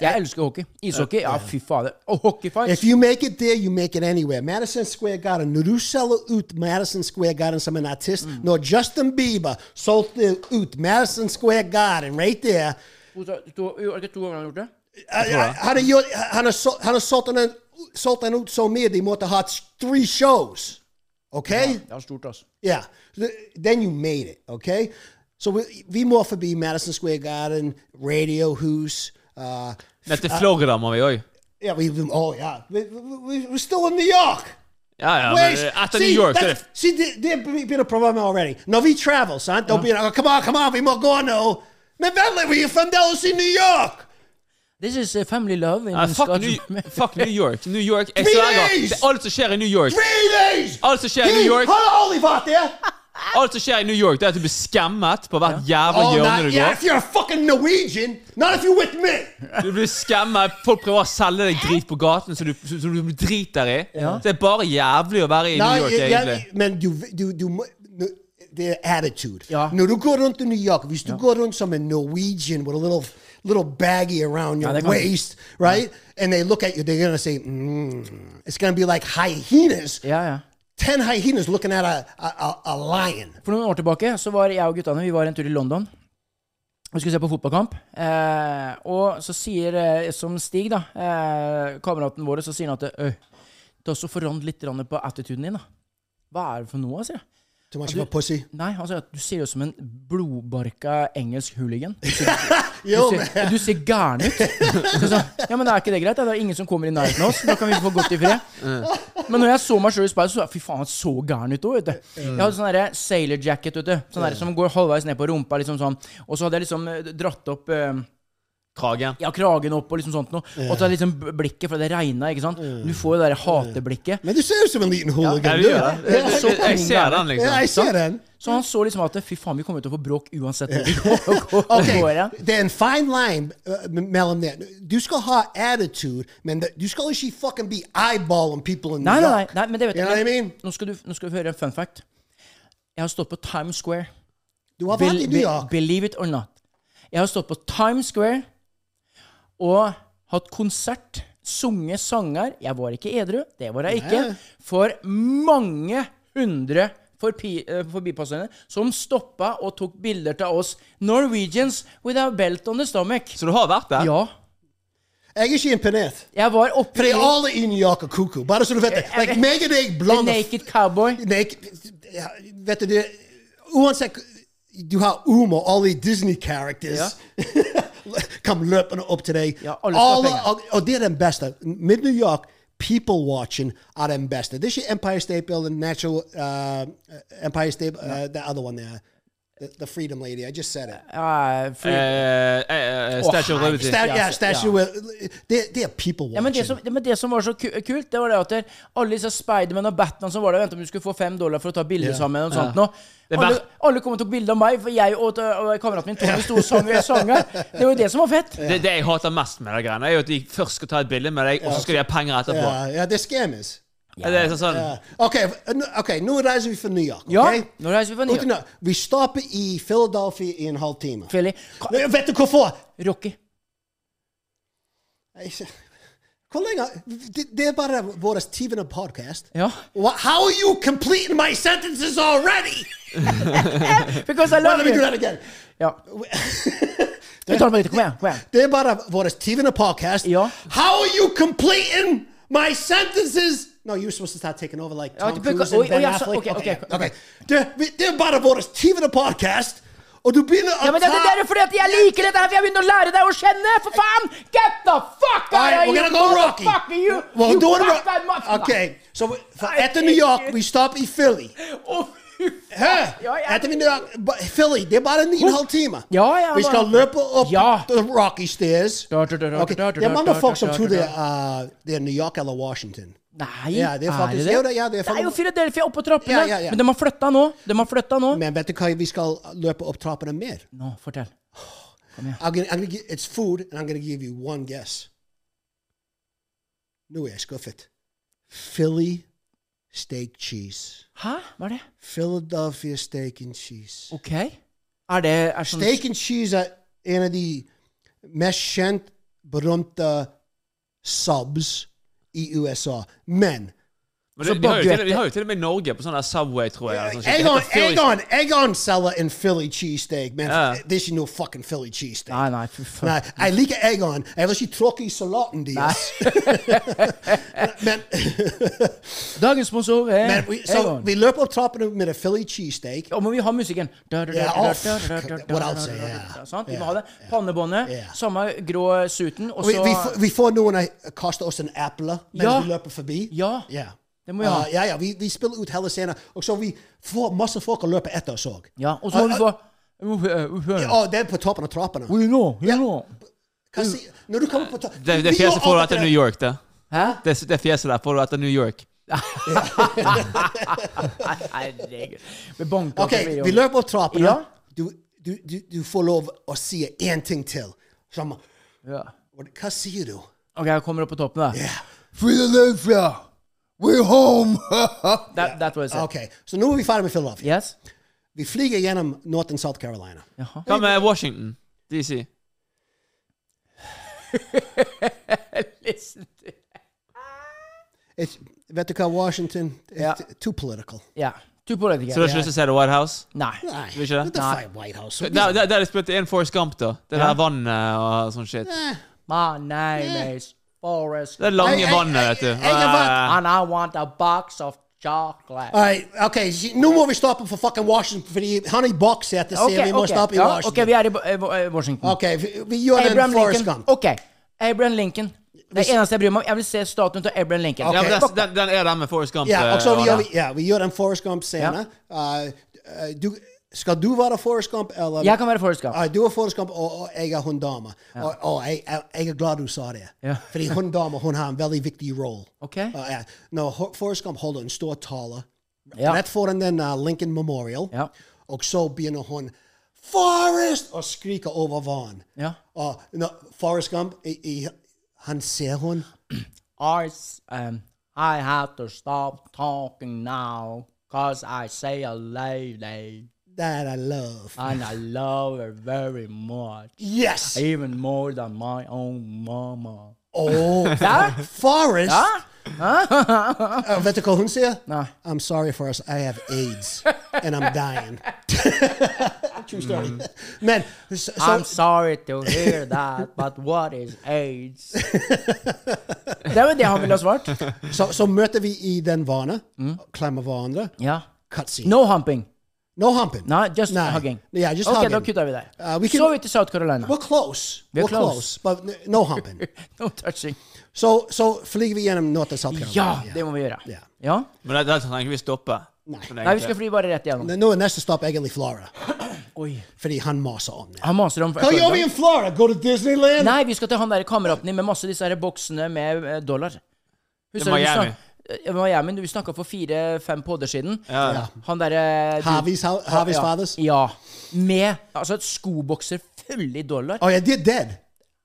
jeg elsker hockey. Ishockey? Ja, fy fader. Og
If
hockeyfights.
you make it there, you make it anywhere. Madison Square Garden. Når du selger ut Madison Square Garden som en artist, når Justin Bieber solgte ut Madison Square Garden right there,
To- to- jo, Er det ikke to ganger han har gjort det?
Han- Han har gjort- han har sol- han har solgt den- solgt den ut så mye de måtte ha tre shows. OK?
Det er stort, altså.
Yeah. Th- Then you made it, okay? So we, vi må forbi Madison Square Garden, Radio Hus. Uh,
Ned til Florida må vi òg.
yeah, we, we- oh, yeah. We, we, we- we're still in New York.
Ja, ja, men eh,
Wait,
etter New York så er det
that's- See, there- there be- been a problem already. No, we travel, son. Don't be like, oh, come on, come on, we må gå nå. Men vent we from Dallas in New York.
This is eh, family love. in
Nei, fuck,
Scotland.
New, fuck New York. New York jeg sverger. Det er alt som skjer i New York.
Three days.
Alt som skjer i New York,
Hold Olive out there.
alt som skjer i New York, det er at du blir skammet på hvert jævla
Oh,
hjørne
not,
du
yeah,
går.
if you're a fucking Norwegian, not if you're with me.
Du blir skammet. Folk prøver å selge deg drit på gaten som du, som du driter i. Det er bare jævlig å være i
Nei,
New York,
jeg- jeg-
egentlig.
men du, du, du, må- nu- det er attitude.
Ja.
Når du går rundt i New York, hvis du går rundt som en Norwegian with a little, little baggy around your
det kan-
waist, right? And they look at you, they're going to say, mm. it's going to be like hyenas.
Ja, ja.
Ten hyenas looking at a, a, a, a lion.
For noen år tilbake så var jeg og guttene Vi var en tur i London. Vi skulle se på fotballkamp. Eh, og så sier, eh, som Stig, da, eh, kameraten vår, så sier han at Øy, det er også forandret litt grann på attituden din. da. Hva er det for noe? sier jeg.
Too much of a pussy.
Nei, han sier at du ser ut som en blodbarka engelsk hooligan.
Yo,
du,
man.
ser, du ser gæren ut. Så sa han, ja, men er ikke det greit? da? Det er ingen som kommer i nærheten av oss. Da kan vi få godt i fred. Men når jeg så meg sjøl i speilet, så fy faen, han så gæren ut òg, vet du. Jeg hadde sånn derre sailor jacket, vet du. Sånn derre som går halvveis ned på rumpa, liksom sånn. Og så hadde jeg liksom eh, dratt opp eh,
Kragen.
Ja, kragen opp og liksom sånt noe. Og så er liksom b- blikket, for det regna, ikke sant. Du får jo det der hateblikket.
Men du ser ut som en liten hooligan.
Ja, vi
du.
gjør det. Jeg, jeg, jeg ser den, liksom.
Ja, jeg ser den.
Så han så liksom at fy faen, vi kommer til å få bråk uansett hvor vi går. går, går
Okay,
hen.
det er en fine line uh, me- mellom det. Du skal ha attitude, men det- du skal ikke fucking be eyeballing people in New
Nei, nei, nei,
York.
nei, men det vet
You know what I mean?
Nå skal, du, nå skal du høre en fun fact. Jeg har stått på Times Square.
Du har vært
Be-
i New
be-
York.
Believe it or not. Jeg har stått på Times Square og hatt konsert, sunget sanger. Jeg var ikke edru, det var jeg ikke. For mange hundre forpi, eh, forbipasserende som stoppa og tok bilder til oss Norwegians with our belt on the stomach.
Så du har vært der?
Ja.
Jeg er ikke imponert.
Jeg var oppe
Fordi alle i New York er koko. Bare så du vet det. Like, meg og deg
Eh, The
blande
Naked Cowboy.
naked ja, Vet du det Uansett Du har Uma, alle de Disney-characters. Kom løpende opp til deg.
Ja, alle skal ha penger.
og, og det er den beste. Mid New York, people watching er den beste. Det er ikke Empire State Building, Natural uh, Empire State uh, The other one there. The, the Freedom Lady. I just said it.
Ja, fri-
Eh, eh, eh, Statue of
Å,
Liberty.
Sta-
Ja,
yeah,
så- ja.
statue with- Det det er people watching.
Ja, men det, som, men det som var så ku- kult, det var det at der- alle disse Spiderman og Batman som var der, ventet om du skulle få fem dollar for å ta bilde sammen. og sånt nå.
Det er
Alle,
verdt-
alle kom og tok bilde av meg, for jeg og, og kameraten min Tony sto og sang. og jeg sang her. Det var jo det som var fett.
Det, det jeg hater mest med de greiene, er jo at de først skal ta et bilde med deg, og så skal de ha penger etterpå.
Ja, ja, det er scammers.
Det er sånn, sånn
Ok, nu- ok, nå reiser vi fra New York.
Ja,
ok?
nå reiser vi fra New York.
Uten å- Vi stopper i Philadelphia i en halv time.
Philly. Ka-
Nei, Vet du hvorfor?
Rocky.
Jeg s- Hvor lenge Det, det er bare vår tiende podcast.
Ja.
Wha- How are you completing my sentences already?
Because I
Wait, let
love
me do that
you.
again.
Ja. Vi tar det på nytt. Kom igjen. kom igjen.
Det er bare vår tiende podcast.
Ja.
How are you completing my sentences? No, you were supposed to start taking over like
Ja,
Tom
det bruker-
Cruise
oi,
and
oi,
Ben
jeg sa-
Affleck.
ok, ok,
ja,
ok.
ok. Det, vi- det er bare vår tiende podcast, og du begynner å
Ja, men det, det er jo fordi at jeg liker dette her, for jeg begynner å lære deg å kjenne! For faen! Get the fuck out of
Alright, we're
here!
gonna go Rocky.
Fucking you!
Well,
you
doing Ro-
fucking muffin.
Okay, so we- for, after New York, we stop in Philly.
Å, fy faen.
Huh?
Oh, Ja, ja.
After New York, but Philly, det er bare en halv time.
Ja, ja,
vi skal
man-
løpe opp
Ja.
the Rocky Stairs.
Da, da, da, da,
Okay,
da, da,
Det er mange
da,
folk
da,
som
da,
tror
da,
det
da.
er det er New York eller Washington.
Nei,
Ja, det er faktisk-
det?
Jo, det- ja, det er
det er jo
faktisk-
Philadelphia oppå trappene!
Ja, ja, ja.
Men de har flytta nå. De har flytta nå.
Men vet du hva, vi skal løpe opp trappene mer.
Nå, fortell.
I'm gonna, I'm gonna gi- it's food, and I'm gonna give you one guess. Nå er jeg skuffet. Philly steak cheese.
Hæ? Hva er det?
Philadelphia steak and cheese.
OK. Er det er sånn
Steak and cheese er en av de mest kjent, berømte subs E i USA. Men
Men de, de, har jo til, de har jo til og med i Norge på sånn der Subway, tror jeg. eller sånn shit.
jeg
Det heter Philly-
kan selge en Philly cheesesteak, men
Ja.
det er ikke noe fucking Philly cheesesteak.
Nei, nei, fy faen.
Nei, jeg liker Egon. Jeg vil ikke tråkke i salaten deres. men
Dagens sponsor er
men vi, så,
Egon.
vi løper opp trappene med en Philly cheesesteak.
Ja, men vi har musikken. Da, da, da,
Ja,
da, da,
off.
da, da, da, da,
What else?
da, da, da, da,
Ja.
Sant? Vi
Ja.
må ha det. Pannebåndet,
Ja.
samme grå suiten, og
Og Vi,
så
vi, får- vi får noen å kaste oss en apple mens
Ja.
vi løper forbi.
Ja.
Ja.
Det må vi ha.
Uh, ja, ja, vi, vi spiller ut hele scenen, og så vi får masse folk å løpe etter oss òg.
Ja, og så må vi få
Ja, det er på toppen av trappene.
You know, you
Ja.
know.
Hva si- Når du kommer på toppen
Det, det fjeset får du etter New York, det.
Hæ?
Det, det fjeset der får du etter New York.
Herregud. Vi banker opp
Ok,
i
vi
videoen.
løper opp trappene.
Ja.
Du, du, du, du får lov å si én ting til. Som,
Ja.
hva sier du?
OK, jeg kommer opp på toppen, da.
Philadelphia, we're home!
That, that was it.
ok, Så nå er vi ferdig med Philadelphia.
Yes?
Vi flyr gjennom North and South Carolina.
Jaha.
Hva med Washington DC?
Listen to
It's, vet du hva, Washington? It's
Ja.
Too political.
Ja. To politikere.
Så du har ikke lyst til å se The White House?
Nei.
Nei,
Vil ikke det?
det er feil White House.
Der, der, der de spilte inn Forrest Gump, da. Det der vannet og sånn shit.
My name is Forrest
Det er
Nei,
lange
jeg-
vannet, vet
jeg-
du.
jeg har vært-
Ah,
and I want a box of chocolate.
Alright, ok, s- nå må vi stoppe for fucking Washington, fordi han i bokssetet sier vi må stoppe i
Ja,
Washington.
ok, vi er i Bo- eh, Bo- eh, Washington.
Ok, vi, vi gjør den
Abraham
Forrest
Lincoln.
Gump.
Ok. Abraham Lincoln. Det er eneste jeg bryr meg om. Jeg vil se statuen til Abraham Lincoln.
Ja,
Ok.
men den, den, den er der med Forrest Gump.
Ja, og så
eh,
vi
og der.
gjør, vi- ja, vi gjør den Forrest Gump-scenen. Uh, uh, du, Skal du være Forrest Gump? Eller?
Jeg kan være Forrest Gump.
Ja, du er Forrest Gump, og, og jeg er hun dama. Og, og jeg, jeg, jeg er glad du sa det.
Ja.
Fordi hun dama hun har en veldig viktig rolle.
Ok.
Uh, ja. Når Ho- Forrest Gump holder en stor tale
Ja.
rett foran den uh, Lincoln Memorial,
Ja.
og så begynner hun Forrest! og skriker over vann.
Ja.
Og når Forrest Gump i, i, Han ser hun.
Arts, um, I have to stop talking now, cause I say a lady,
That I love.
and I love her very much,
Yes!
even more than my own mama.
Oh, Forrest! Uh, vet du hva hun sier?
Nei.
I'm sorry for us. I have AIDS and I'm dying. True story. Men, så,
I'm
så,
sorry to hear that, but what is AIDS? det var det han ville ha svart.
så, så møter vi i den vane, klemmer hverandre,
Ja.
cutscene.
Mm. No humping.
No humping.
No, just
Nei.
hugging.
Yeah, just
okay,
hugging.
da kutter vi der.
Uh, we
Så
can-
vi til South Carolina.
We're close.
We're
We're,
close.
close. but n- no humping.
No touching.
så, så flyger vi gjennom North and South
Ja,
Carolina.
det må vi gjøre.
Ja.
Ja?
Men det, det trenger ikke vi stoppe.
Nei,
Sånn
vi skal
egentlig.
fly bare rett igjennom.
Nå er neste stopp egentlig Florida,
Oi.
fordi han maser om det.
Han maser om
Hva gjør vi i Florida? Gå til Disneyland?
Nei, vi skal til han der kameraten din med masse disse her boksene med eh, dollar. Husker
Til
du
Miami.
snak- eh, Miami. Du snakka for fire-fem podder siden.
Ja. Ja.
Han derre eh,
Harvey's, Har- Harvey's fathers?
Ja. Med altså et skobokser full i dollar.
Oh, yeah, they're dead.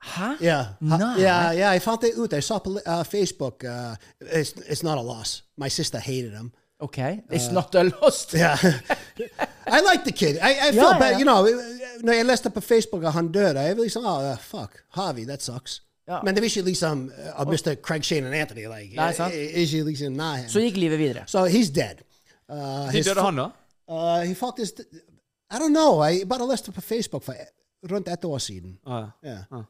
Hæ?
Yeah. Ha-
Nei.
Yeah, yeah. I found it out. I saw poli- uh, Facebook. Uh, it's, it's not a loss. My sister hated him.
OK. It's not a lost.
Yeah. I like the kid. I, I feel
yeah,
bad.
yeah.
You know, no, I left up a Facebook a hundred. I really said, oh, uh, fuck. Harvey, that sucks.
Yeah.
Man, they should at least um, uh, Mr. Craig Shane and Anthony. Like,
That's not-
eh, eh, is he at least in nah him.
Så gikk livet videre.
So he's dead. Uh,
De døde han, da?
Uh, he fucked his. I don't know. I but I left up a Facebook for runt ett år sedan.
Ah, ja.
Yeah.
Ah.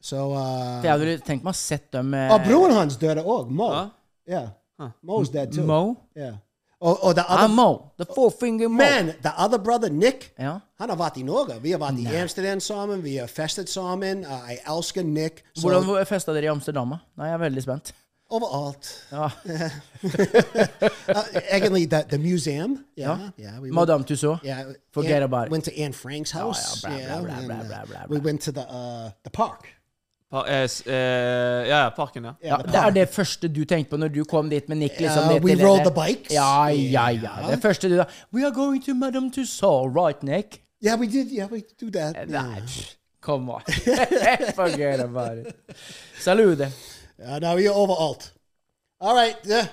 So. Uh,
For jeg hadde tenkt meg å ha sett dem eh,
Oh, broren hans døde òg. Mo.
Ja.
Yeah. Mo's dead too.
Mo?
Yeah. Og, og the
Ah,
other,
Mo. The four finger Mo.
man, the other brother, Nick,
Ja.
han har vært i Norge. Vi har vært i Amsterdam sammen, vi har festet sammen. Uh, jeg elsker Nick. Så
Hvordan festa dere i Amsterdam? da? Nei, jeg er veldig spent.
overalt.
Ja.
Uh, egentlig the, the museum. Yeah,
Ja.
yeah, we eh, went-
Madame Tussauds.
Yeah,
Forget
Aunt-
about it. Oh,
Went to Anne Frank's house.
blah, blah,
yeah,
blah,
and,
blah,
uh,
blah, blah,
We
blah.
went to the uh, the park.
Pa, eh, s- eh, ja, ja, parken, ja.
Ja, det er det første du tenkte på når du kom dit med Nick? Liksom,
Ja,
ned
we
til-
rode the bikes.
Ja, ja, ja. Det første du da We are going to Madame Tussauds, right, Nick? Eh,
Yeah, we did. Yeah, we do that.
Nei,
yeah.
pff, come on. Forget about it. Salute.
Uh, now you're overalt. All right. Yeah.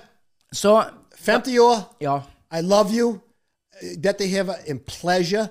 Så
50 år.
Ja.
I love you. Dette her var en pleasure.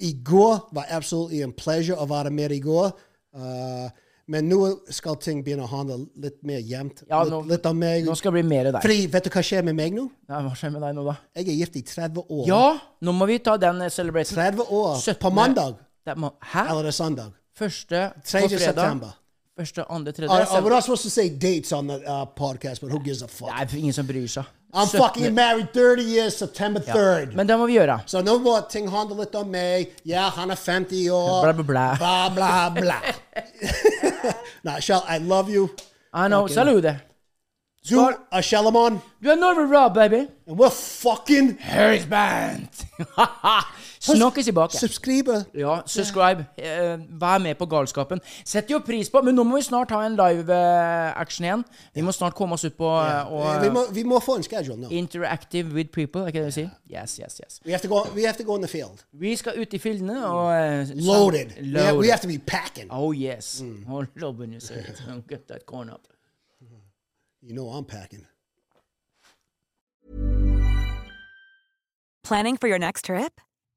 I går var absolutely en pleasure å være med i går. Uh, men nå skal ting begynne å handle litt mer jevnt.
ja
litt,
nå,
litt om eh, meg.
nå skal det bli mer av deg.
Fordi, vet du hva skjer med meg nå?
Nei, hva skjer med deg nå, da?
Jeg er gift i 30 år.
Ja, nå må vi ta den eh, celebration.
30 år. På
Syttende-
mandag.
Det må- Hæ?
Eller det er søndag.
Første på
3.
fredag? er
september.
Første, andre, tredje
Uh, uh, we're
september.
not supposed to say dates on the uh, podcast, but who gives a fuck?
Nei, ingen som bryr seg.
I'm
Syttende-
fucking married 30 years, September 3rd.
Men det må vi gjøre.
Så nå må ting handle litt om meg. Ja, han er 50 år.
Bla, bla, bla.
Bla, bla, bla. Nei, Shell, I love you.
I know. Salute.
Du er Shellamon,
Du er Norway Rob, baby.
and we're fucking
Høysband! Snakkes i baken.
subscriber.
Ja, subscribe. Eh, vær med på galskapen. Setter jo pris på Men nå må vi snart ha en live-action igjen. Vi må snart komme oss ut på eh,
vi,
og
må, vi må få en schedule nå.
Interactive with people, er ikke det vi sier? Yes, yes, yes.
We have, to go, we have to go in the field.
Vi skal ut i fildene og eh, så-
Loaded. We, have, we
Loaded.
have to be Mm. packing.
Oh yes. Oh, Robin, you say it. Don't Get that corn up.
You know I'm packing.
Planning for your next trip?